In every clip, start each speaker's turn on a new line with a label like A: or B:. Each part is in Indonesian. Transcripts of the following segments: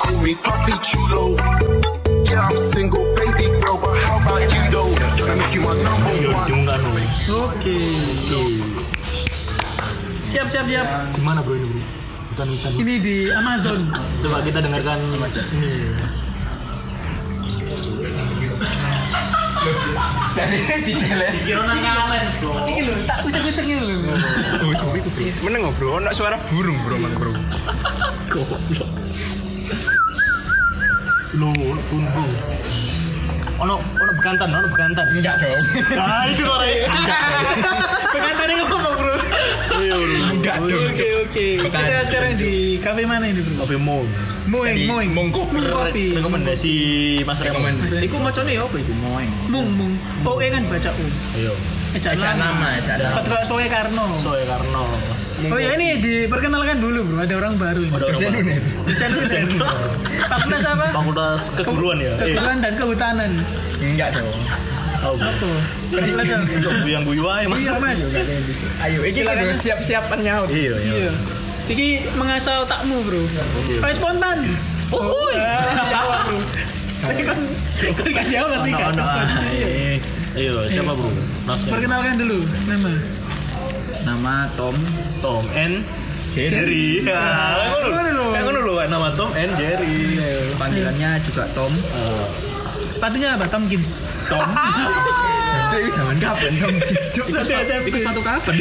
A: call me Puffy Chulo. Yeah, I'm single, baby girl, but how about you though? Can I make you my number one?
B: Jemur anu.
C: Oke. Siap siap siap.
B: Di mana bro ini bro? Hutan-hutan.
C: Ini di Amazon.
B: Coba kita dengarkan Mas.
C: Ini loh, tak kucek-kucek ini loh.
D: Meneng bro, ono suara burung bro man bro.
B: Lo, ono pun bro. Ono, ono bekantan, ono bekantan. Enggak dong. Nah, itu suara
C: Pengantar yang ngomong bro.
D: Iya, Enggak
C: Oke oke oke. Kita sekarang di kafe mana ini bro?
D: Tapi mau.
C: Moeng
D: Di
C: Moeng.
D: Mongko.
C: Mung kopi.
B: rekomendasi Mas Rekomen.
E: Iku macane ya apa iku moeng.
C: Mung Mung. Oh eh kan baca um.
B: Ayo.
C: Ejak
E: Ejak nama,
C: nama.
E: ejak nama.
C: Petrok Soe Karno.
B: Soe Karno.
C: Oh ya ini diperkenalkan dulu bro. Ada orang baru. ini.
B: Dosen Unet.
C: Dosen Unet. Fakultas apa?
B: Fakultas keguruan ya. Eh,
C: Keguruan dan kehutanan.
D: Enggak dong.
B: tahu.
C: Apa? Fakultas apa?
B: yang guyu ae Mas.
C: Iya mas.
D: Ayo, ini
C: Silakan.
D: kudu siap-siapan nyaut.
B: Iya, iya.
C: Iya. Iki mengasah otakmu bro. Kayak spontan. Oh, jawab bro. Tapi kan, kan gak jawab berarti kan.
B: Ono-ono ae. Iya, siapa bro? Mas
C: Perkenalkan dulu nama.
E: Nama Tom.
B: Tom and Jerry. Ya,
C: Kayak ngono lho.
B: Kayak ngono lho, nama Tom and Jerry.
E: Panggilannya juga Tom.
C: Sepatunya apa? Tomkins.
D: Cek iki zaman kapan Tom Kiss, Cuk?
E: Iku sepatu kapan?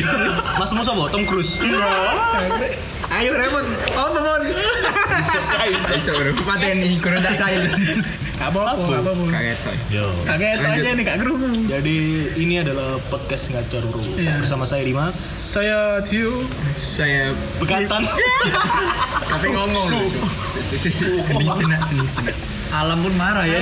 B: Mas Musa bawa Tom Cruise.
C: Iya. Ayo Raymond. Oh, Raymond.
D: Iso bro, pateni kudu tak sail.
C: Gak apa-apa, gak apa-apa.
D: Gak ketok.
B: Yo.
C: Kaget aja nih, gak kerumuh.
B: Jadi ini adalah podcast ngacor bro.
C: Iya.
B: Bersama saya Dimas.
C: Saya Tio.
D: Saya
B: Bekantan.
D: tapi ngomong lho. Sini jenak sini jenak.
E: Alam pun marah ya.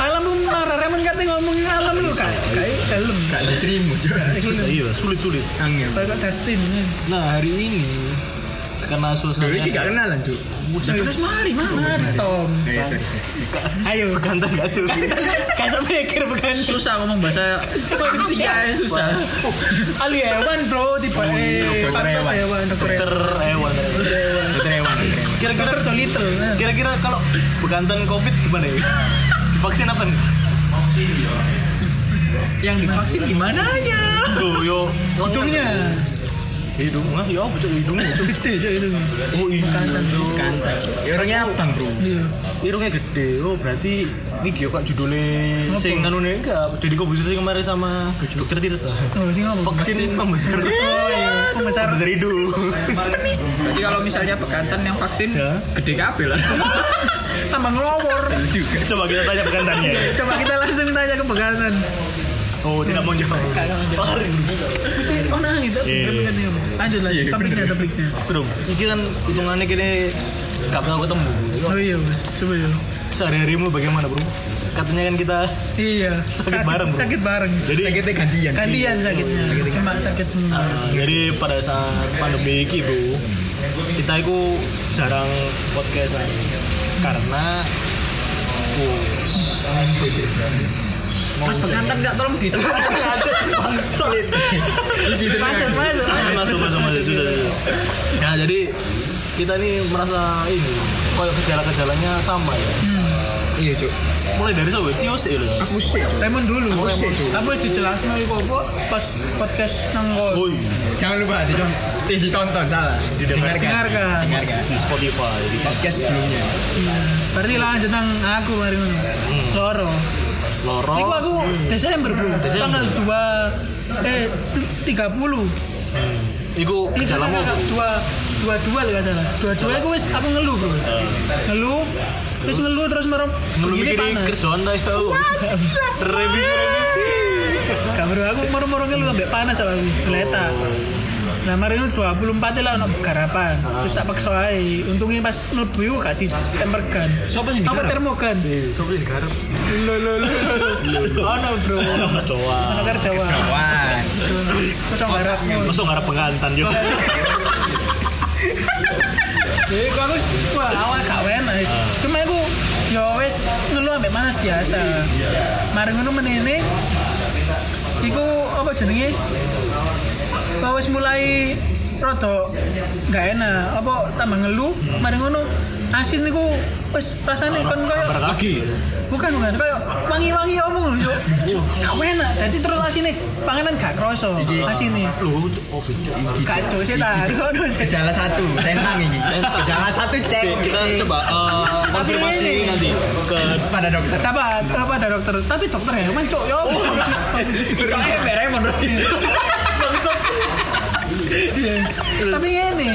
C: Alam pun marah, Raymond katanya ngomongin alam lu kak. Kayak helm.
D: Gak diterima Cuk.
B: iya, sulit sulit.
D: Angel.
C: Kayak Dustin. ya.
B: Nah hari ini karena
D: Lho,
B: suasana
D: iki gak kenalan, Cuk.
E: Terus mari mari.
C: Nah, Tom.
D: Ya, ya, sorry, sorry.
B: Ayo bekantan gak sulit. Kayak mikir bekantan.
E: Susah ngomong bahasa manusia susah.
C: Ali hewan bro, tiba eh
D: dokter
C: pantas
D: hewan.
C: hewan dokter
B: Ter
C: hewan.
B: hewan.
D: Dokter hewan, dokter hewan.
B: Kira-kira
C: Dokter Jolito. nah.
B: kira-kira kalau bekantan covid gimana ya? Vaksin apa nih?
E: Yang divaksin gimana aja?
B: Tuh, yo.
C: Hidungnya
B: Hidung, ah, ya, betul hidungnya. Cuk.
C: gede aja hidungnya.
B: Oh iya.
D: Kantor. Ya orangnya abang, Bro.
C: Iya.
B: Irungnya gede, oh berarti ini gyo kak judulnya sing anu nih enggak jadi kok sih kemarin sama dokter tidak
C: Oh, sing apa?
B: vaksin membesar
C: Oh, iya. Pembesar.
B: membesar hidung
E: Jadi kalau misalnya bekantan yang vaksin
B: Ya.
E: gede kabel lah.
C: Tambah ngelowor.
B: coba kita tanya bekantannya
C: Coba kita langsung tanya ke pegangan.
B: oh tidak mau jawab lari
C: Mesti oh nah itu
B: Iya.
C: bener-bener nih, Om. Lanjut lanjut topiknya topiknya.
B: bro ini kan hitungannya kini gak pernah ketemu
C: Oh iya mas, coba ya.
B: sehari-harimu bagaimana bro katanya kan kita
C: Iya. Sakit-
B: bareng, bro.
C: Sakit bareng.
B: jadi
D: Sakitnya gantian.
C: Gantian sakitnya. Cuma sakit semua.
B: Nah, jadi pada saat pandemi ini bro kita itu jarang podcast karena oh,
E: Mas bekantan nggak tolong ditepuk.
C: Masuk masuk.
B: kan? Ah, masuk masuk masuk sudah sudah. nah jadi kita nih merasa ini kok gejala-gejalanya sama ya
C: Hmm.
D: Iya, Cuk.
B: mulai dari sobat tios ya lho.
D: Aku sih.
C: Raymond dulu.
D: Aku sih,
C: Raymond.
D: Cuk.
C: Kamu harus dijelasin lagi kok pas podcast nang
B: Boy,
D: Jangan lupa ditonton. Eh, ditonton salah.
B: Didengarkan.
C: Dengarkan.
D: Dengarkan.
B: di Spotify
D: Podcast sebelumnya.
C: Berarti lanjut nang aku mari ngono. Loro.
B: lorong
C: Iku aku Oh. Desember, Bro.
B: Desember.
C: Tanggal 2 eh t- 30.
B: iku
C: Iku
B: gejalamu
C: tanggal
B: apa?
C: dua dua dua lah nggak salah. Dua dua aku wis aku ngeluh, Bro. Ngeluh. Terus Eh. ngeluh terus merem.
B: belum
C: begini
B: mikir
C: panas. Nah,
B: kerjaan dah tau ya revisi revisi
C: Gak bro, aku moro-moro ngeluh ambek panas sama aku. Leta. Nah, mari nu 24 lah ono garapan. Terus tak paksa ae. Untungnya pas mlebu iku gak ditemper gun.
E: Sopo sing
C: Apa
E: digarap?
C: termogan?
B: sobat digarap
C: Lho lho lho. Ono, Bro.
B: kecoa
C: Ono kerjawan.
D: Wah,
C: Terus aku garap.
B: masuk ngarep pengantan yo
C: Jadi aku aku wah awal gak enak wis. Cuma aku ya wis ngeluh ambek panas biasa. Mari ngono menene iku apa jenenge? Kok wis mulai rada gak enak, apa tambah ngeluh, mari ngono asin niku wis rasane kon koyo
B: Barat lagi.
C: bukan bukan koyo wangi-wangi omong lho yo. Gak enak. Dadi terus asine panganan gak kroso asine.
B: Lu covid. Cok.
C: Gak cuk setan. Kono sih.
D: Gejala satu, tentang ini. Gejala satu cek.
B: Cek, kita coba eh, konfirmasi
C: ini-
B: nanti ke
D: pada dokter.
C: Apa apa ada dokter? Tapi dokter Herman cuk yo.
E: Soalnya Mbak Raymond
C: Iya. Tapi ini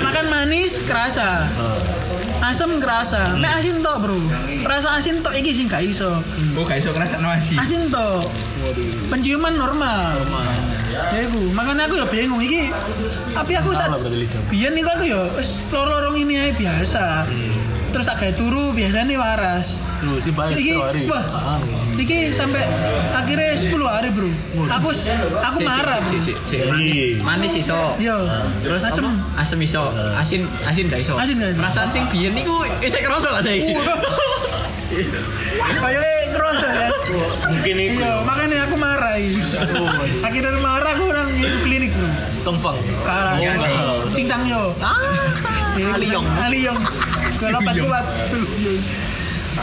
C: makan manis kerasa. Asam kerasa. Nek asin tok, Bro. Rasa asin tok iki sing gak iso.
E: Hmm. Oh,
D: Gue gak iso ngerasa nasi.
C: asin toh penciuman normal ya aku makanya aku ya bingung iki tapi aku saat
B: lah berarti lidah.
C: biar nih aku ya wis, lorong ini aja biasa terus tak kayak turu biasanya nih waras
B: lu sih baik
C: iki
B: tiap hari.
C: wah iki sampai akhirnya 10 hari bro aku s- aku marah bro.
B: Iya.
E: Manis iso.
C: yo
E: Terus
C: asem
E: asem asem iso. Asin asin gak iso.
C: Asin nggak iso.
E: Perasaan sing biyen niku isih kerasa lah saiki.
C: Iya. kayak ngerasa ya
B: Mungkin itu
C: Iya, makanya aku marah iki. akhirnya marah aku orang ngirim klinik bro
B: tongfang.
C: Kalah
B: Oh,
C: kan.
B: kalah.
C: Cincang yo. Ah. Aliyong. Aliyong. Kalau pas kuat.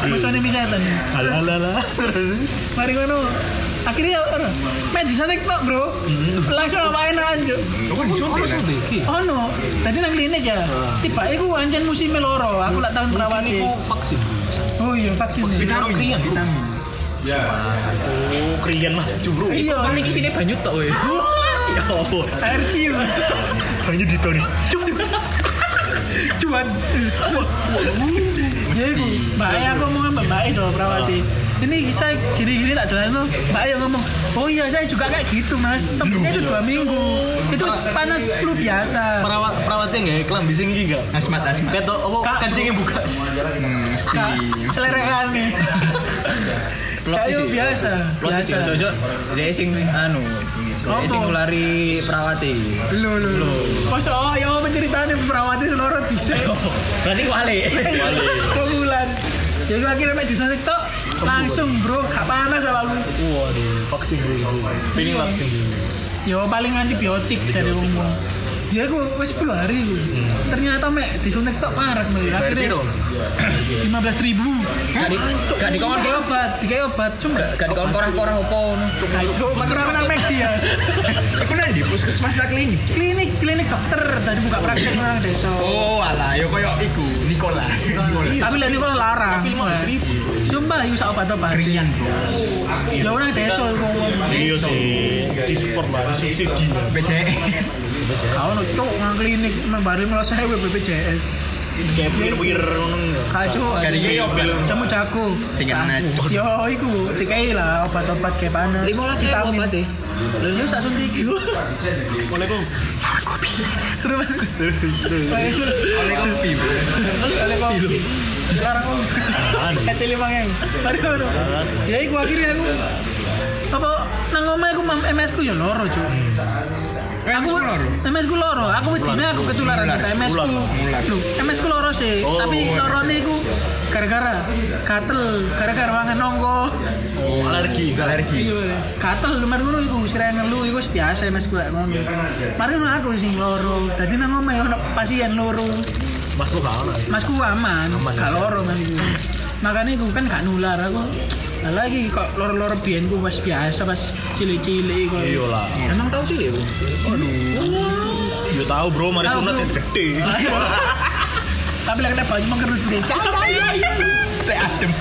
C: Musuhnya ini setan.
B: Alalala.
C: Mari ngono. Akhirnya ora. Medisnya tok, Bro. Langsung apa enak anjo.
D: Gue disuntik. kan?
C: Oh no, tadi nang klinik ya. Tiba iku anjen musim loro, aku lak tahun perawat
B: Ini ku vaksin.
C: Oh iya vaksin.
D: Vitamin, vitamin.
B: Oh, kerian maju bro.
C: Iya,
E: Paling isine banyu tok kowe. Ya Allah.
C: air cium.
B: Banyak di Tony.
C: Cuman. Ya iku, Iya, Mbak E aku ngomong sama Mbak E dong perawati. Ini saya gini-gini tak jelasin loh. Mbak E ngomong, oh iya saya juga kayak gitu mas. Sebelumnya itu dua minggu. Itu panas flu biasa.
B: Perawat perawatnya nggak ya? kelam bising gini nggak?
D: Asmat, asmat.
B: Ketok apa
C: Kak.
B: kancingnya buka.
D: Hmm, Mesti.
C: Kak, selerekan nih.
E: Plot sih.
C: Kayu biasa,
E: Plot sih,
C: biasa.
E: Jojo. Dia sing anu, dia
C: Apa?
E: sing nulari perawati.
C: Lu lu lu. Masa oh ya apa ceritanya perawati seluruh bisa.
E: Berarti kuali.
C: Kebulan. Ya gue akhirnya medis tok langsung bro, gak panas sama aku.
B: Waduh, vaksin bro. Feeling vaksin.
C: Yo paling antibiotik dari umum. Ya aku wis 10 hari aku.
E: Hmm.
C: Ternyata mek disuntik kok paras mek akhirnya. 15 ribu.
E: Gak di- gak di kawan
C: Dikai obat, dikai obat. Cuma
E: Gak gak dikon korah-korah Kan opo ngono.
C: gak itu obat kurang nang mek dia.
D: Aku nanti di puskesmas tak klinik.
C: Klinik, klinik dokter dari buka praktek orang desa.
D: Oh, alah, yo koyo iku Nicolas. Nicolas.
C: Tapi lihat kalau larang. Tapi 15 ribu. Sumpah, yuk obat-obat.
D: Keringan, Bro.
C: Ya orang desa ngomong.
B: Iya sih. Di support lah, di subsidi.
D: BCS.
C: Kau no cuk nang klinik nang bari malah saya BPJS.
B: Kayak pikir-pikir.
C: Kacau.
D: Dari yo,
C: Jamu jago.
D: Sing enak.
C: Yo iku dikai lah obat-obat kayak panas. Vitamin.
E: deh.
C: Lho yo sak suntik iki.
B: Boleh kok.
D: Oleh kopi, Bro.
C: Sekarang om. Kecil lima yang. Mari ngono. Ya iku akhirnya aku apa nang omah aku mam- MS ku yo loro cuk.
D: Aku
C: Aku
D: loro.
C: MS ku loro, aku wedine aku ketularan
D: Mular.
C: kata MS ku.
D: Mular.
C: Lho, MS ku loro sih, tapi lorone iku gara-gara katel, gara-gara wangan nongko.
B: oh, Alergi.
D: Alergi.
C: Katel lumar ngono iku sirae ngelu iku wis biasa MS ku lek ngono. Mari ngono aku sing loro, dadi nang omah ya ono pasien loro.
B: Mas kok gak ono.
C: Masku aman, gak loro kan iku. Makanya iku kan gak nular aku. Lah lagi kok loro-loro biyen ku wis biasa pas cilik-cilik kok.
B: Iya lah.
E: Emang tau sih ya, Bu?
B: Yo tahu bro, mari
C: Tahu,
B: sunat
C: Bro.
B: yang gede.
C: Tapi lek kena baju mengkerut dulu.
D: Teh adem.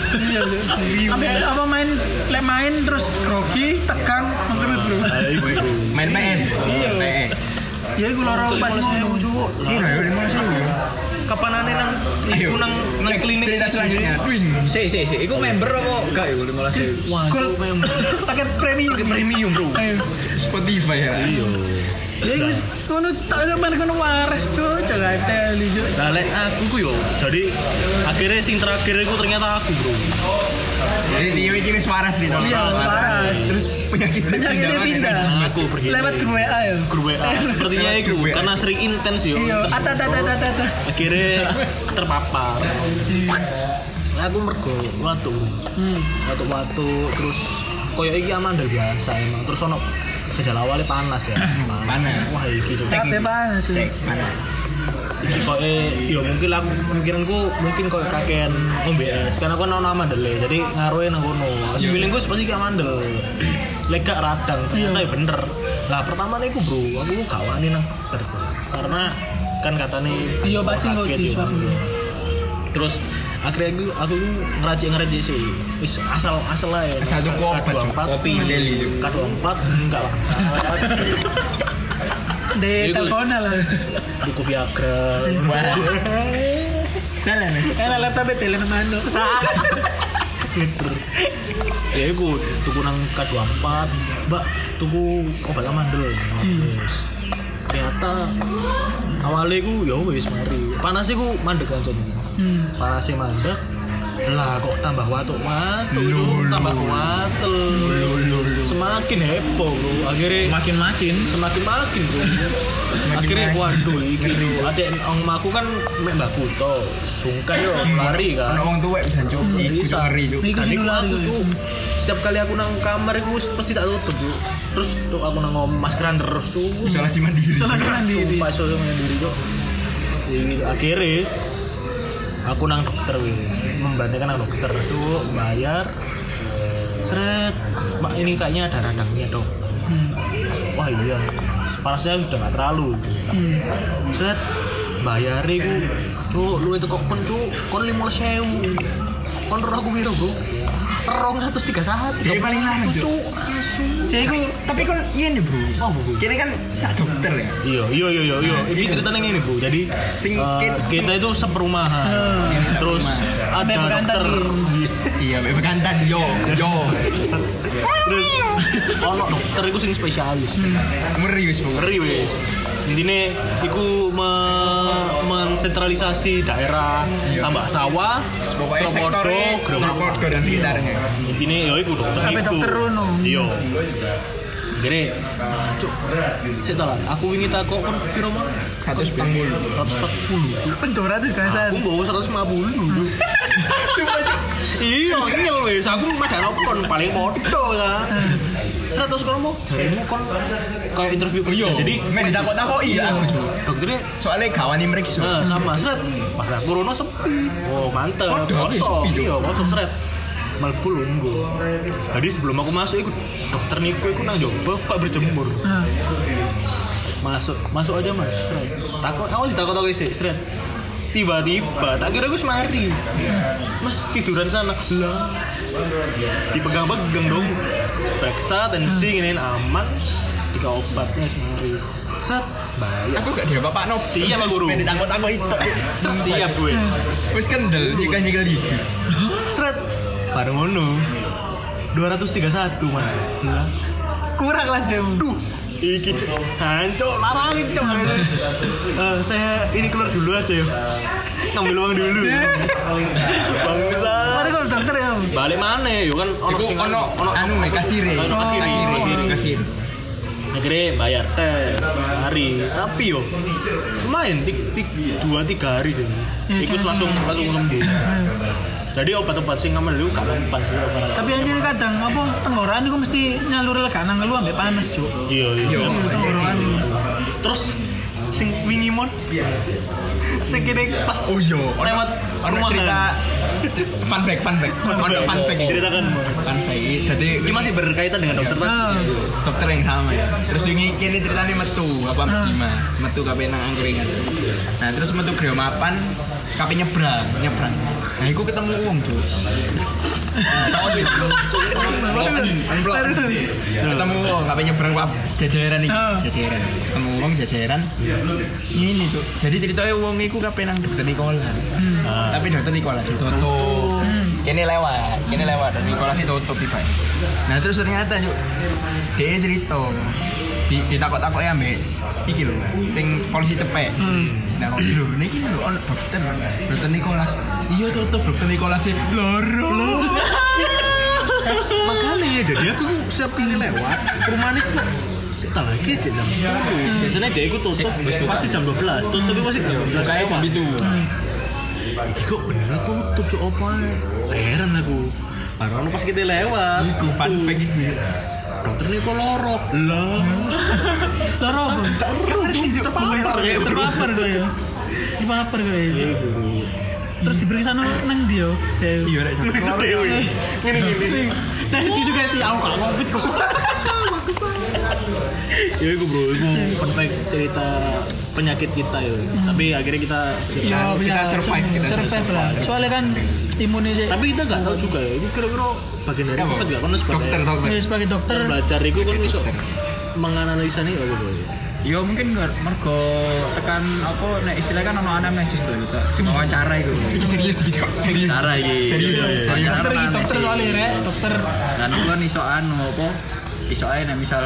C: Sampai apa main lek main terus grogi, tegang, mengkerut dulu.
B: Ayo bro.
D: Main PS. Iya. PS.
C: Ya iku loro pas ngono.
D: Kira yo 50.000 yo.
B: Kapan aneh nang
D: Ayo.
B: iku nang nang klinik
D: Cerita
B: sih.
D: selanjutnya.
E: Si, si, si. Iku member apa? Gak ya, lima belas ribu.
B: Wah,
C: Gol paket premium.
B: premium bro.
C: Ayo.
D: Spotify ya.
C: Ya iku wis ngono tak ada main kono waras cuy, jaga teli cuy.
B: Nah, lek aku ku yo. Jadi akhirnya sing terakhir iku ternyata aku, Bro.
D: Jadi Tio ini wis waras nih. Tol.
C: Iya, wis waras.
D: Terus penyakitnya
C: Penyakitnya pindah.
B: Aku pergi.
C: Lewat grup WA ya.
B: grup WA. Nah, Sepertinya
D: Lewat
B: itu
D: grup WA.
B: karena sering intens yo.
C: Iya,
B: Intens.
C: ata ata ata ata.
B: Akhirnya terpapar. aku mergo watu. Watu-watu terus koyo iki amandel biasa emang. Terus ono gejala awalnya panas ya.
D: Panas.
B: Wah, iki cok. Nah.
C: Capek banget sih.
D: Panas.
B: iki kok ya mungkin aku pemikiranku mungkin kok kakean ngombe es karena aku nang mandel jadi ngaruhin nang kono Terus
E: Iya.
B: feelingku seperti kayak mandel lega radang ternyata
E: Iya.
B: ya bener lah pertama nih aku bro aku gak wani nang dokter bro. karena kan katanya
C: Iya, pasti kok
B: kaget ya.
C: disuapin.
B: terus akhirnya aku aku ngerajik ngerajik sih wis asal asal lah ya
E: Asal tuku obat, Cuk. Kopi. Mandeli, Cuk.
B: kado empat enggak lah
C: Di
E: Iku-
C: telpon lah.
B: buku viagra
D: Salah Mas.
C: Kan laptop itu telemano.
B: ya iku tuku nang K24 mbak tuku obat amandel terus ternyata awalnya iku ya wis mari panas iku mandek kan Jon. panasnya mandek lah kok tambah watuk watuk tambah watuk semakin heboh bro akhirnya
E: Makin-makin.
B: semakin makin bro akhirnya waduh iki lho adek ong aku kan mek mbakku to sungkan yo lari kan
E: Ono wong tuwek bisa coba.
B: Iya, bisa
E: Cuk.
B: Iku sing aku tuh setiap kali aku nang kamar iku pasti tak tutup yuk. Terus tuh aku nang ngom- maskeran terus tuh.
E: Isolasi mandiri.
B: Isolasi mandiri. Sumpah isolasi mandiri yuk. Ya gitu. Akhirnya aku nang dokter wis membandingkan nang dokter tuh bayar eh, seret mak ini kayaknya ada radangnya dok Hmm. wah iya panasnya sudah nggak terlalu gitu.
D: Iya.
B: set bayari ku cuk lu itu kok kon cuk kon lima sewu kon roh aku biru bro rong atas tiga saat
D: Jadi paling larang, Cuk.
B: cuk asu
D: Jadi aku tapi kan ngene bro.
B: Apa, Bro?
D: Kene kan sak dokter ya.
B: Iya, iya, iya, iya, iya. Ini ceritanya gini bu. Jadi
D: Sing- Iya,
B: eh,
D: kin-
B: kita itu seperumahan, terus ada
C: Sampai
B: dokter,
C: berantak nih.
D: Iya, mek bekantan yo yo.
B: terus ono dokter itu sing spesialis.
E: Hmm.
D: Ngeri wis bro.
B: ngeri wis intine iku me mensentralisasi daerah tambah sawah
E: Pokoknya Iya. sektor e. Nah.
B: Tromodo Grogol
E: Tromodo dan sekitarnya.
B: intine ya iku dokter
C: Sampai
B: iku.
C: dokter ngono.
B: iya jadi cuk sik ta, Lan. aku wingi takok kon piro mau
E: 140.
B: 140 Cuk.
C: Kan 200 kan
B: aku bawa 150 dulu iya ngel wis aku madha kon paling podo kan 100 kon mau jarimu kon kayak interview
E: Oh,
B: kerja jadi
E: men ditakut-takut iya aku Cuk.
B: dokternya
E: Soalnya gawani meriksa.
B: Nah, sama seret. Pas aku rono sepi. Oh, mantep.
E: Padahal
B: Kosong.
E: sepi,
B: Iya, kosong seret. Melbu lunggu. Jadi sebelum aku masuk iku dokter niku iku nang jopo kok berjemur. Masuk, masuk aja Mas. Seret. Takut aku ditakut-takut sih, seret. Tiba-tiba, tak kira gue semari. Mas tiduran sana. Lah. Dipegang-pegang dong. Periksa tensi nginin aman. Tiga obatnya semari. Set, bayar.
E: Aku gak dia bapak no.
B: Siap, Pak Guru.
E: Men ditakut-takut itu.
B: Set siap gue.
E: Wis kendel, nyekel-nyekel gigi.
B: Seret. Bareng ngono. 231 Mas. Lah.
C: Kurang lah dia.
B: Duh. Iki cok. hancur larangin cok. Eh, saya ini keluar dulu aja ya. Ambil uang dulu. Bangsa.
C: Mari kalau dokter ya.
B: Balik mana ya kan ono
E: Iku
B: sing
E: ono ono anu nih kasire.
B: Ono kasire, kasire.
E: kasir.
B: akhirnya bayar tes hari tapi yo lumayan tik tik dua tiga hari sih ikut langsung langsung sembuh jadi obat-obat sing kamu dulu gak mempan sih obat
C: Tapi anjir kadang apa tenggorokan iku mesti nyalur leganan lu ambek panas, Cuk.
B: iya iya
E: Yo.
C: Tenggorokan.
B: terus sing wingi mon sing kene pas
E: Oh iya, ono-
B: lewat kan?
E: ono
B: rumahan.
E: cerita fun fact, fun fact. Ono fun fact. ya.
B: ceritakan Mon.
E: Fun fact. Jadi Oh,
B: ini masih berkaitan dengan dokter tadi
C: Nah,
E: dokter yang sama ya. Terus ini kini ceritanya metu apa gimana? Metu kape nang angkringan. Nah terus metu greo mapan kape nyebrang nyebrang. Nah aku ketemu uang tuh. ketemu uang kape nyebrang wap jajaran nih
C: Ah.
E: jajaran ketemu uang jajaran ini tuh jadi ceritanya uang iku kape nang dokter Nikola tapi dokter Nikola sih tutup kini lewat kini lewat dokter Nikola sih tutup tiba nah terus ternyata yuk dia cerita di ditakut takut ya mbes iki lho sing polisi cepek nah kok lho niki lho on dokter dokter Nikolas iya tutup dokter Nikolas sih loro
B: makanya jadi aku setiap kali lewat rumahnya kok setelah lagi aja jam 10 Iya. biasanya dia itu tutup pasti jam gitu. 12 tutupnya pasti jam 12
E: kayak jam itu
B: Iki kok bener tutup cok apa heran aku Baru pas kita lewat
E: iku fun
B: Tuh.
E: fact iku.
B: dokter ini kok loro lah
C: loro. Kan
B: terpapar kayak
C: Terpapar gue ya. di paper kayak gitu. Terus diperiksa nang nang dia. Iya,
F: Iya, rek.
B: Periksa dewe.
C: Ngene ngene. Tadi disugesti aku gak covid kok.
B: Ya itu bro, itu fun fact cerita penyakit kita ya. Tapi akhirnya Iya, kita
C: Ya,
F: kita
C: bisa.
F: survive, kita
C: survive lah. Soalnya kan imunnya sih.
B: tapi kita nggak tahu juga ya. Itu kira-kira bagian dari
F: Apa?
B: COVID nggak? Kan sebagai
F: Dokter, dokter.
C: Ya, sebagai dokter
B: belajar itu kan bisa menganalisa nih apa bro?
E: Yo mungkin nggak mergo tekan apa nek istilah kan ono anamnesis tuh gitu. Sing wawancara iku.
F: Ini serius gitu, serius.
E: Cara iki.
F: Serius, serius.
C: dokter
E: Karena
C: dokter
E: anamnesis.
C: soalnya rek dokter
E: Dan aku kan iso anu apa iso ae nek misal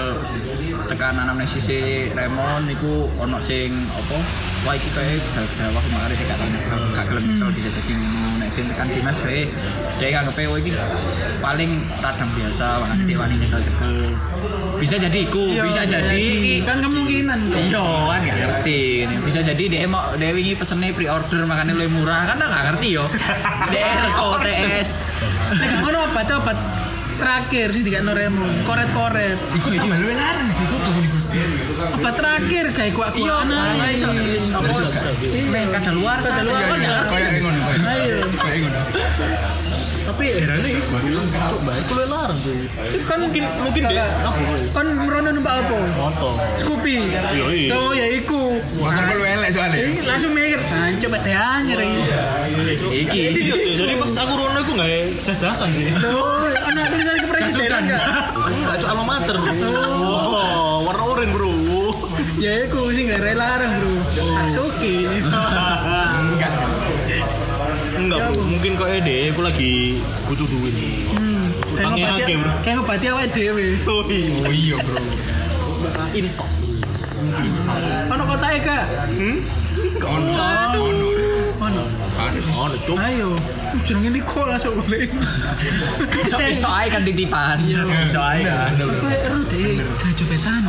E: tekan anamnesis si Raymond niku ono sing apa wah iki kae Jawa kemarin dekat ana gak gelem
F: Hmm.
E: iso dijajaki ngono nek sing tekan Dimas kae dia nganggepe oh iki paling radang biasa wani dewani nyekel-nyekel. Bisa jadi iku, bisa jadi iki
C: kan kemungkinan kok.
E: Iya kan gak ngerti ini. Bisa jadi dia mau dia wingi pesennya pre-order makanya lebih murah kan gak ngerti yo DR kok TS
C: Nek gak ngono obat obat terakhir sih dikakno Remo, koret-koret.
F: Iku itu lu larang sih kok begini
C: Obat terakhir kayak kuat
E: Iya
C: kuat
E: malah gak iso wis apa meh kada luar kada luar kan gak ngerti
F: Kayak ngono, kayak
C: Ayo.
F: kayak ngono.
B: Tapi herannya itu coba itu lu larang tuh.
C: Kan mungkin mungkin dia kan merono numpak apa?
B: Motor.
C: Scoopy.
B: iya.
C: Oh ya iku.
F: Motor lu elek soalnya.
C: Ini langsung mikir, ah coba deh anjir ini.
B: Iki. Iya, Jadi pas aku rono aku nggak jas-jasan sih.
C: Tuh, anak tulisan ke presiden enggak?
B: Enggak cuma alma mater. bro. Wow, Oh, warna oranye bro.
C: Ya iku sih enggak rela larang, Bro. Ah, so oke.
F: Enggak.
B: Enggak bro, mungkin kok ede, aku lagi butuh duit.
C: Kayak
B: Utangnya
C: ngobati,
B: akeh bro.
C: kayak ngobati awake dhewe.
B: Tuh, iya.
F: Oh iya, Bro.
B: Info.
C: Ono e, kotae gak?
B: Hmm?
F: Kono. Kono.
C: Ono.
B: Oh, itu.
C: Ayo, jenenge Niko langsung boleh.
E: iso iso ae kan titipan iso ae kan
C: Eh, Sampai eru deh, gak copetan.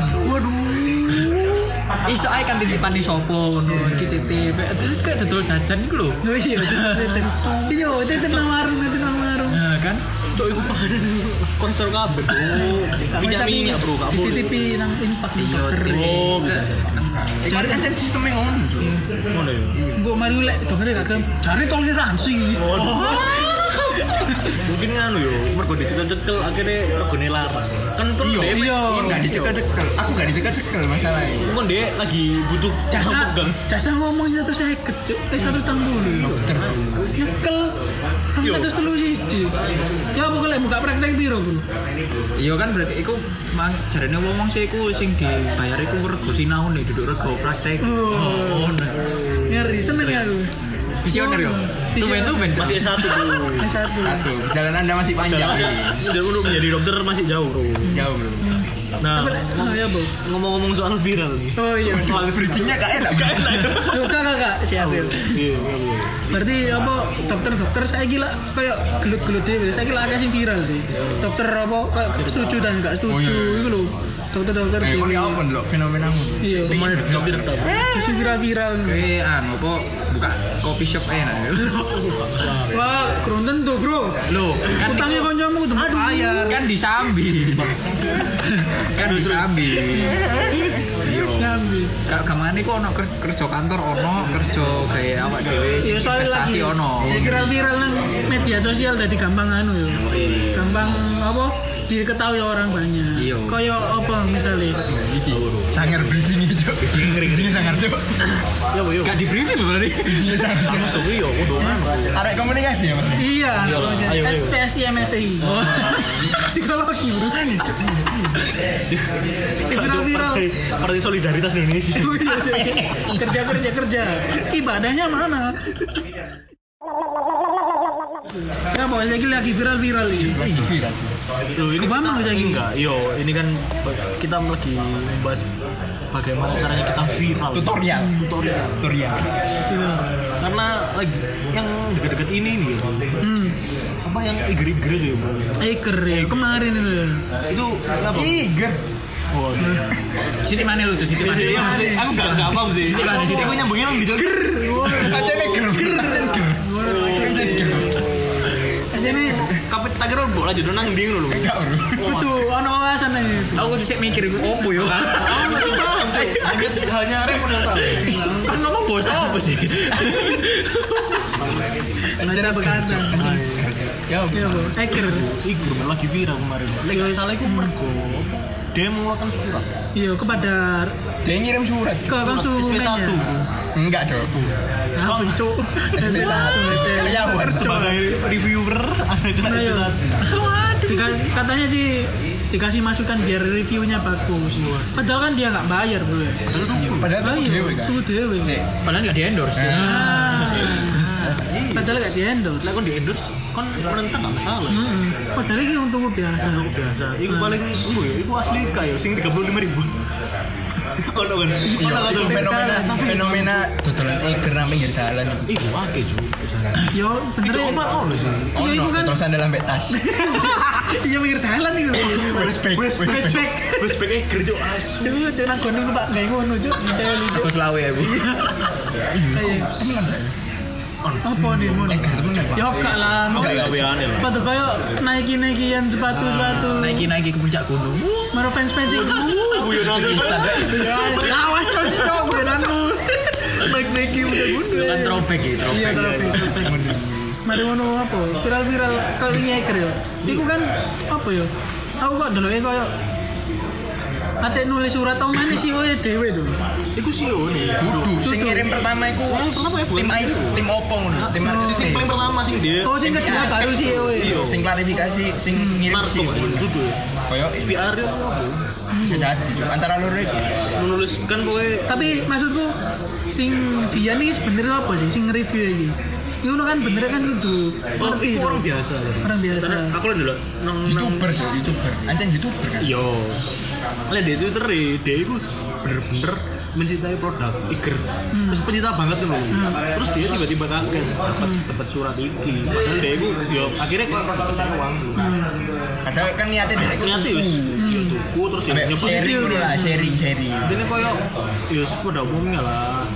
E: iso ae kan titipan di sopo ngono iki titip terus kayak dodol jajan iku lho
C: Oh iya, titip. Iya, titip nang warung, titip nang warung.
E: Nah, kan
B: Cok, itu makanan konser kabel. Minyak minyak bro, kamu.
C: Dititipi nang infak di dokter.
B: Oh, bisa.
C: Cari kan sistemnya ngono.
B: Mana ya?
C: Gue mari lek dokter gak gelem. Cari toleransi.
B: Oh. Mungkin nganu yo, mergo dicekel-cekel akhirnya regone larang. Kan kan
F: Iya,
B: dia
F: iya. Enggak dicekel-cekel. Aku enggak dicekel-cekel masalahnya.
B: kan dia lagi butuh
C: Jasa,
B: pegang.
C: jasa ngomong satu seket, eh satu tanggung dulu.
F: Dokter.
C: Nyekel, kan satu telu siji. Ya apa lek buka praktek biru bro?
E: Iya kan berarti iku mang jarene wong wong sih iku sing dibayar iku rego sinau nih duduk rego praktek.
C: Oh, ngeri seneng ya aku.
E: Visioner yo.
C: Visioner.
E: Tuben-tuben.
B: Masih S1 bro.
C: Eh, Satu.
F: Satu, perjalanan Anda masih panjang.
B: Jalannya dan untuk menjadi dokter masih jauh bro.
F: Jauh, Bro.
B: Nah,
C: Oh ya bu.
B: ngomong-ngomong soal viral nih.
C: Oh iya.
B: Bridgingnya gak enak. Gak enak.
C: Duh, kakak kak siap
B: Iya,
C: ya.
B: iya.
C: Berarti apa dokter-dokter saya gila kayak gelut-gelut dhewe. Saya gila akeh sing viral sih. Dokter apa kayak setuju dan
F: Oh,
C: enggak setuju
F: iya, iya.
C: iku lho. Dokter-dokter
F: Eh,
C: dhewe.
F: kok apa lho fenomena
C: Iya.
B: Kemana dokter tetap?
F: iya.
C: Sing viral-viral.
E: Kowe Eh, anu apa buka coffee shop enak.
C: Wah, kronten tuh, Bro.
E: Lho, kan
C: Utangnya
E: iku-
C: koncomu tuh bayar.
E: kan disambi. kan disambi.
C: Nyambi.
E: Kak kamane kok ono ker- kerja kantor ono, kerja kayak awak dhewe sing
C: Ya soalnya
E: investasi
C: lagi
E: ono.
C: ya, viral-viral nang media sosial tadi gampang anu ya. Gampang apa? diketahui orang banyak.
E: Iya.
C: Kaya apa misalnya? Iya.
F: iki sangar bridging itu bridging sangar cok
B: Ya, iya.
E: Gak di briefing lho tadi.
F: bridging sangar cok
B: Kamu suwi yo, aku doang.
F: arek komunikasi ya mas
C: Iya,
B: Iya lah,
C: pokoknya.
B: ayo, ayo.
C: SPSI MSI. Psikologi bro. Oh, Viral-viral.
B: Partai, Partai Solidaritas Indonesia.
C: Oh, iya, sih. kerja kerja kerja. Ibadahnya mana? Ya pokoknya ini lagi viral-viral ini.
F: lagi viral
B: Loh, ini
C: Kebama
B: kita-
C: bisa gini.
B: enggak. Yo, ini kan kita lagi membahas bagaimana caranya kita viral. Hmm,
F: tutorial
B: Tutorial.
F: tutorial
B: Karena lagi yang dekat-dekat ini nih. ya. Apa yang iger-iger itu ya, Bro?
C: Eker ya, kemarin itu.
B: Itu apa?
F: iger
B: Oh, iya.
E: Siti mana lu tuh? Siti mana?
B: Iya, maksudnya, aku enggak enggak paham sih.
E: Sini, Mas, sini.
B: Aku nyambungin yang gitu.
F: aja nih ger aja nih ger aja nih ger
C: Ini
B: ini kapit tak kira mbok lanjut nang ndi ngono lho. Enggak, Bro.
C: Betul, ono wawasan aja.
D: Aku sih mikir gue opo yo.
B: Aku masih paham tuh. Hanya hanya Raymond yang tahu.
D: Kan ngomong bos apa sih?
C: Acara bekerja.
B: Ya,
C: Ya, kan? Iya, Bu. Hacker.
B: Iku lagi viral kemarin. Lek gak salah iku mergo dia mengeluarkan surat.
C: Iya, kepada
E: Dia ngirim surat.
C: ke konsumen.
B: SP1.
E: Enggak dong.
C: Apa, Cuk?
E: SP1. Karyawan.
B: Sebagai reviewer ada kena
C: Ayo.
B: SP1.
C: Iya. Dikasih- katanya sih dikasih masukan biar reviewnya bagus. Padahal kan dia nggak bayar bro ya.
E: Padahal tuh
C: Bayar,
E: dewe kan.
C: tuh dewe.
D: Padahal nggak di endorse.
C: Ah. Padahal nggak diendor.
E: Iya.
B: Lek kon di endorse, kon menentang gak masalah.
C: Padahal ini Nah, untuk biasa.
B: biasa. Iku paling iku ya, iku asli kayo sing 35 ribu. Ono kan. Ono kan.
E: Itu fenomena fenomena dodolan eger nang pinggir dalan.
B: Iku akeh cuy.
C: Yo, bener
B: Itu
C: ya.
B: omah ono sih.
C: Iya, itu
E: Ono
C: kan.
E: terus anda lambe tas.
C: Iya mikir dalan itu.
B: Respect, respect, respect, respect eh, eger cuy asu.
C: Cuk, cuk nang gondong numpak gak ngono cuk. Eh, lucu.
D: Aku selawe aku.
E: Iya,
C: Apa nih ngono?
E: Eger temenan. Pak.
C: Yo gak lah.
B: Enggak
C: ngono.
B: gaweane lah.
C: Sepatu koyo naiki-naikian sepatu-sepatu.
E: Ah,
D: Naikin naiki ke puncak gunung.
C: Maro fans-fans yang "Uh."
B: Guyu nang bisa.
C: Awas kok cok beranmu. Naik-naiki udah
D: Itu
C: gunung.
D: kan throwback ya
C: Iya,
D: throwback.
C: terapi. Mari ngono apa? Viral-viral kali nyeker yo. Iku kan apa yo? Aku kok deloke koyo Ate nulis surat tau mana sih oe dhewe lho.
B: Iku sih nih.
E: Kudu sing ngirim pertama iku
B: Kenapa ya
E: tim
B: buat
E: I- tim opo ngono, tim
B: Sing- sing paling pertama sing dia.
C: Oh sing kedua baru sih oe.
E: sing klarifikasi sing ngirim
B: Marto
E: sih.
B: itu
E: Koyo ini. Ah.
B: PR dia apa?
E: bisa jadi Cuk. antara lur iki.
B: menuliskan pokoknya
C: Tapi maksudku sing dia nih sebenarnya apa sih sing review iki? Iku kan bener kan kudu
B: Oh,
C: ngerti
B: itu
C: lho.
B: orang biasa.
C: Orang biasa.
B: Karena Aku lihat dulu. Nang nang
E: YouTuber Cuk, YouTuber. Ancen YouTuber kan.
B: Yo. Lah di Twitter eh, dia itu bener-bener mencintai produk Iger. Terus pencinta banget kan lho. Terus dia tiba-tiba kaget dapat dapat surat iki. Padahal dia itu yo akhirnya keluar produk kecewa. Hmm.
E: Padahal kan niatnya dia iku
B: Ternyata yo yo tuku terus yo
E: Sampai
B: nyebut
E: sharing
B: review.
E: dulu lah, sharing, sharing.
B: Jadi koyo yo pada umumnya lah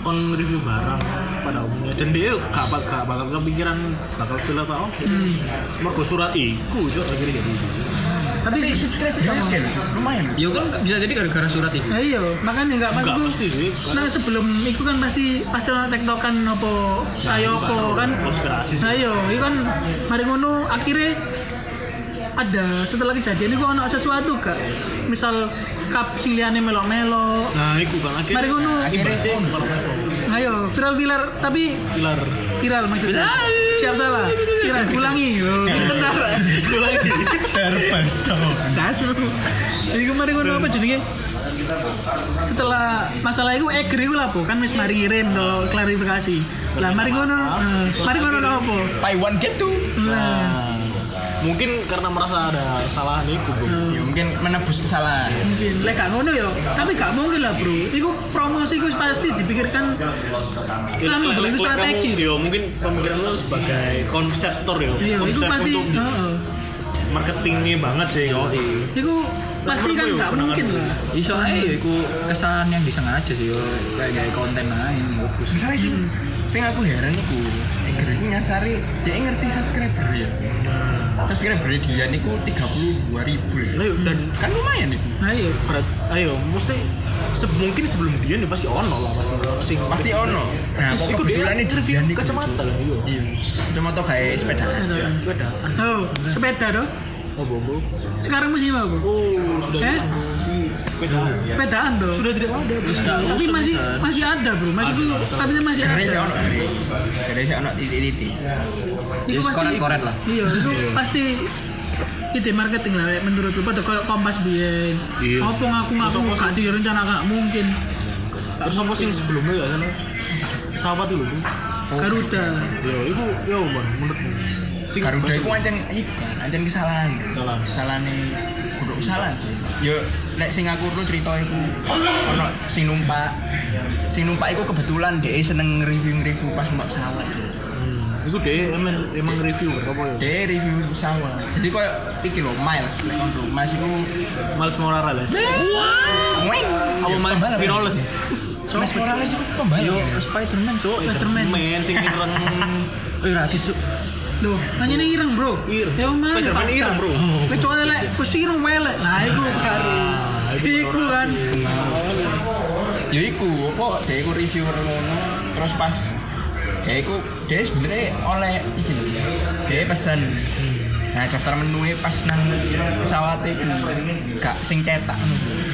B: kon review barang pada umumnya dan dia gak, bak- gak bakal kepikiran bakal film apa oke
C: Hmm.
B: mergo surat iku cok akhirnya gitu. jadi
C: Tapi sih
E: Subscribe ya, oke lho, Cuk. lumayan. lho.
D: Yo kan bisa jadi gara-gara surat itu.
C: Nah, iya, makanya nggak
B: Enggak
C: maksudku.
B: mesti sih.
C: Nah sebelum itu kan pasti pasti orang tektokan apa ayo apa kan
B: Nah, Konspirasi sih.
C: Nah iya, itu kan mari ngono akhirnya ada setelah kejadian itu ono sesuatu gak? Misal cup sing liyane melok-melok.
B: Nah, iku kan akhirnya.
C: Mari ngono.
E: Akhirnya sih
C: Nah iya, viral-viral tapi
B: Pilar.
C: viral maksudnya. Siap salah. Viral ulangi. Oh, yo. Bentar.
B: Itu lagi. Terpaksa.
C: Das. Jadi kemarin ngono apa jenenge? Setelah masalah itu eger iku lah po, kan wis mari ngirim do klarifikasi. Lah mari ngono, eh, mari ngono do apa?
E: buy one get two.
C: Nah,
B: Mungkin karena merasa ada kesalahan iku, Bu.
C: Hmm.
E: Ya mungkin menebus kesalahan.
C: mungkin lek gak ngono ya tapi gak mungkin lah bro itu promosi itu pasti dipikirkan kan
B: Lek-
C: itu
B: lek- lek
C: strategi
B: ya, kamu, Yo, mungkin pemikiran lu sebagai konseptor yo.
C: iya itu
B: Konsep
C: pasti
B: untuk
C: heeh.
B: marketingnya banget sih.
D: Yo iya.
C: itu pasti kan
B: ya,
C: gak mungkin lah
D: Iso ae yo iku kesan yang disengaja sih yo kayak kayak konten ae bagus.
E: Misalnya sih, sing aku heran niku, Eger iku nyasari, dia ngerti subscriber ya. Subscriber dia niku 32.000 ribu ya.
B: Lah, yo, Nah, dan
E: Kan lumayan niku.
C: nah iya
B: berat ayo mesti se mungkin sebelum dia nih pasti ono lah pasti ono sing
E: Pasti ono. Nah, kok
B: Terus iku dia
E: kebetulan ini
B: interview
E: dia niku,
B: kacamata lah yo.
E: Iya. Cuma toh kayak sepeda.
B: Beda.
C: oh sepeda dong
B: Oh, bobo.
C: sekarang musim apa bro?
B: Oh, sudah
C: eh
B: beda.
C: sepedaan dong
B: Iya. Sudah tidak ada.
D: Terus gak
C: tapi
D: usah
C: masih
D: bisa.
C: masih ada bro masih dulu tapi masih
E: Karena
C: ada
E: saya ono. Karena saya ono titik-titik.
C: Iku
D: Yes, Ya, koret-koret lah.
C: Iya, itu pasti ide marketing lah kayak menurut lu pada kayak kompas biyen.
B: Iya.
C: Apa ngaku ngaku gak direncana gak mungkin.
B: Terus apa sih yang sebelumnya ya sana? Sahabat dulu. Bu.
C: Garuda.
B: Yo, itu yo man, menurutmu. Sing
E: Garuda
B: bahasa-
E: itu ancen iku, ancen kesalahan.
B: Kesalahan.
E: Kesalahane kudu kesalahan sih. Yo nek sing aku ro cerita iku ono sing numpak. Sing numpak iku kebetulan dhek seneng review-review pas numpak pesawat. Cuk.
B: Hmm, itu deh emang emang review apa ya?
E: Dhek review pesawat. Jadi koyo iki lho Miles nek kon ro Miles iku
B: Miles Morales.
E: Iya. Weng.
B: Apa Miles
E: Pembalap,
B: Morales?
E: ya? Miles Morales iku pembalap.
D: Yo Spiderman cuk.
C: Spiderman.
E: Iya.
B: Men sing ireng.
D: Eh rasis cuk.
C: Loh, hanya ini ireng bro.
B: Ireng.
C: Ya mana?
B: Spiderman
C: fakta.
B: ireng, bro. Ah,
C: Kecuali lek, kus ireng welek. Lah, itu baru. Iku kan.
E: ya iku apa dia iku reviewer ngono terus pas ya iku dia sebenarnya oleh iki lho dia pesen nah daftar menu e pas nang pesawat itu gak sing cetak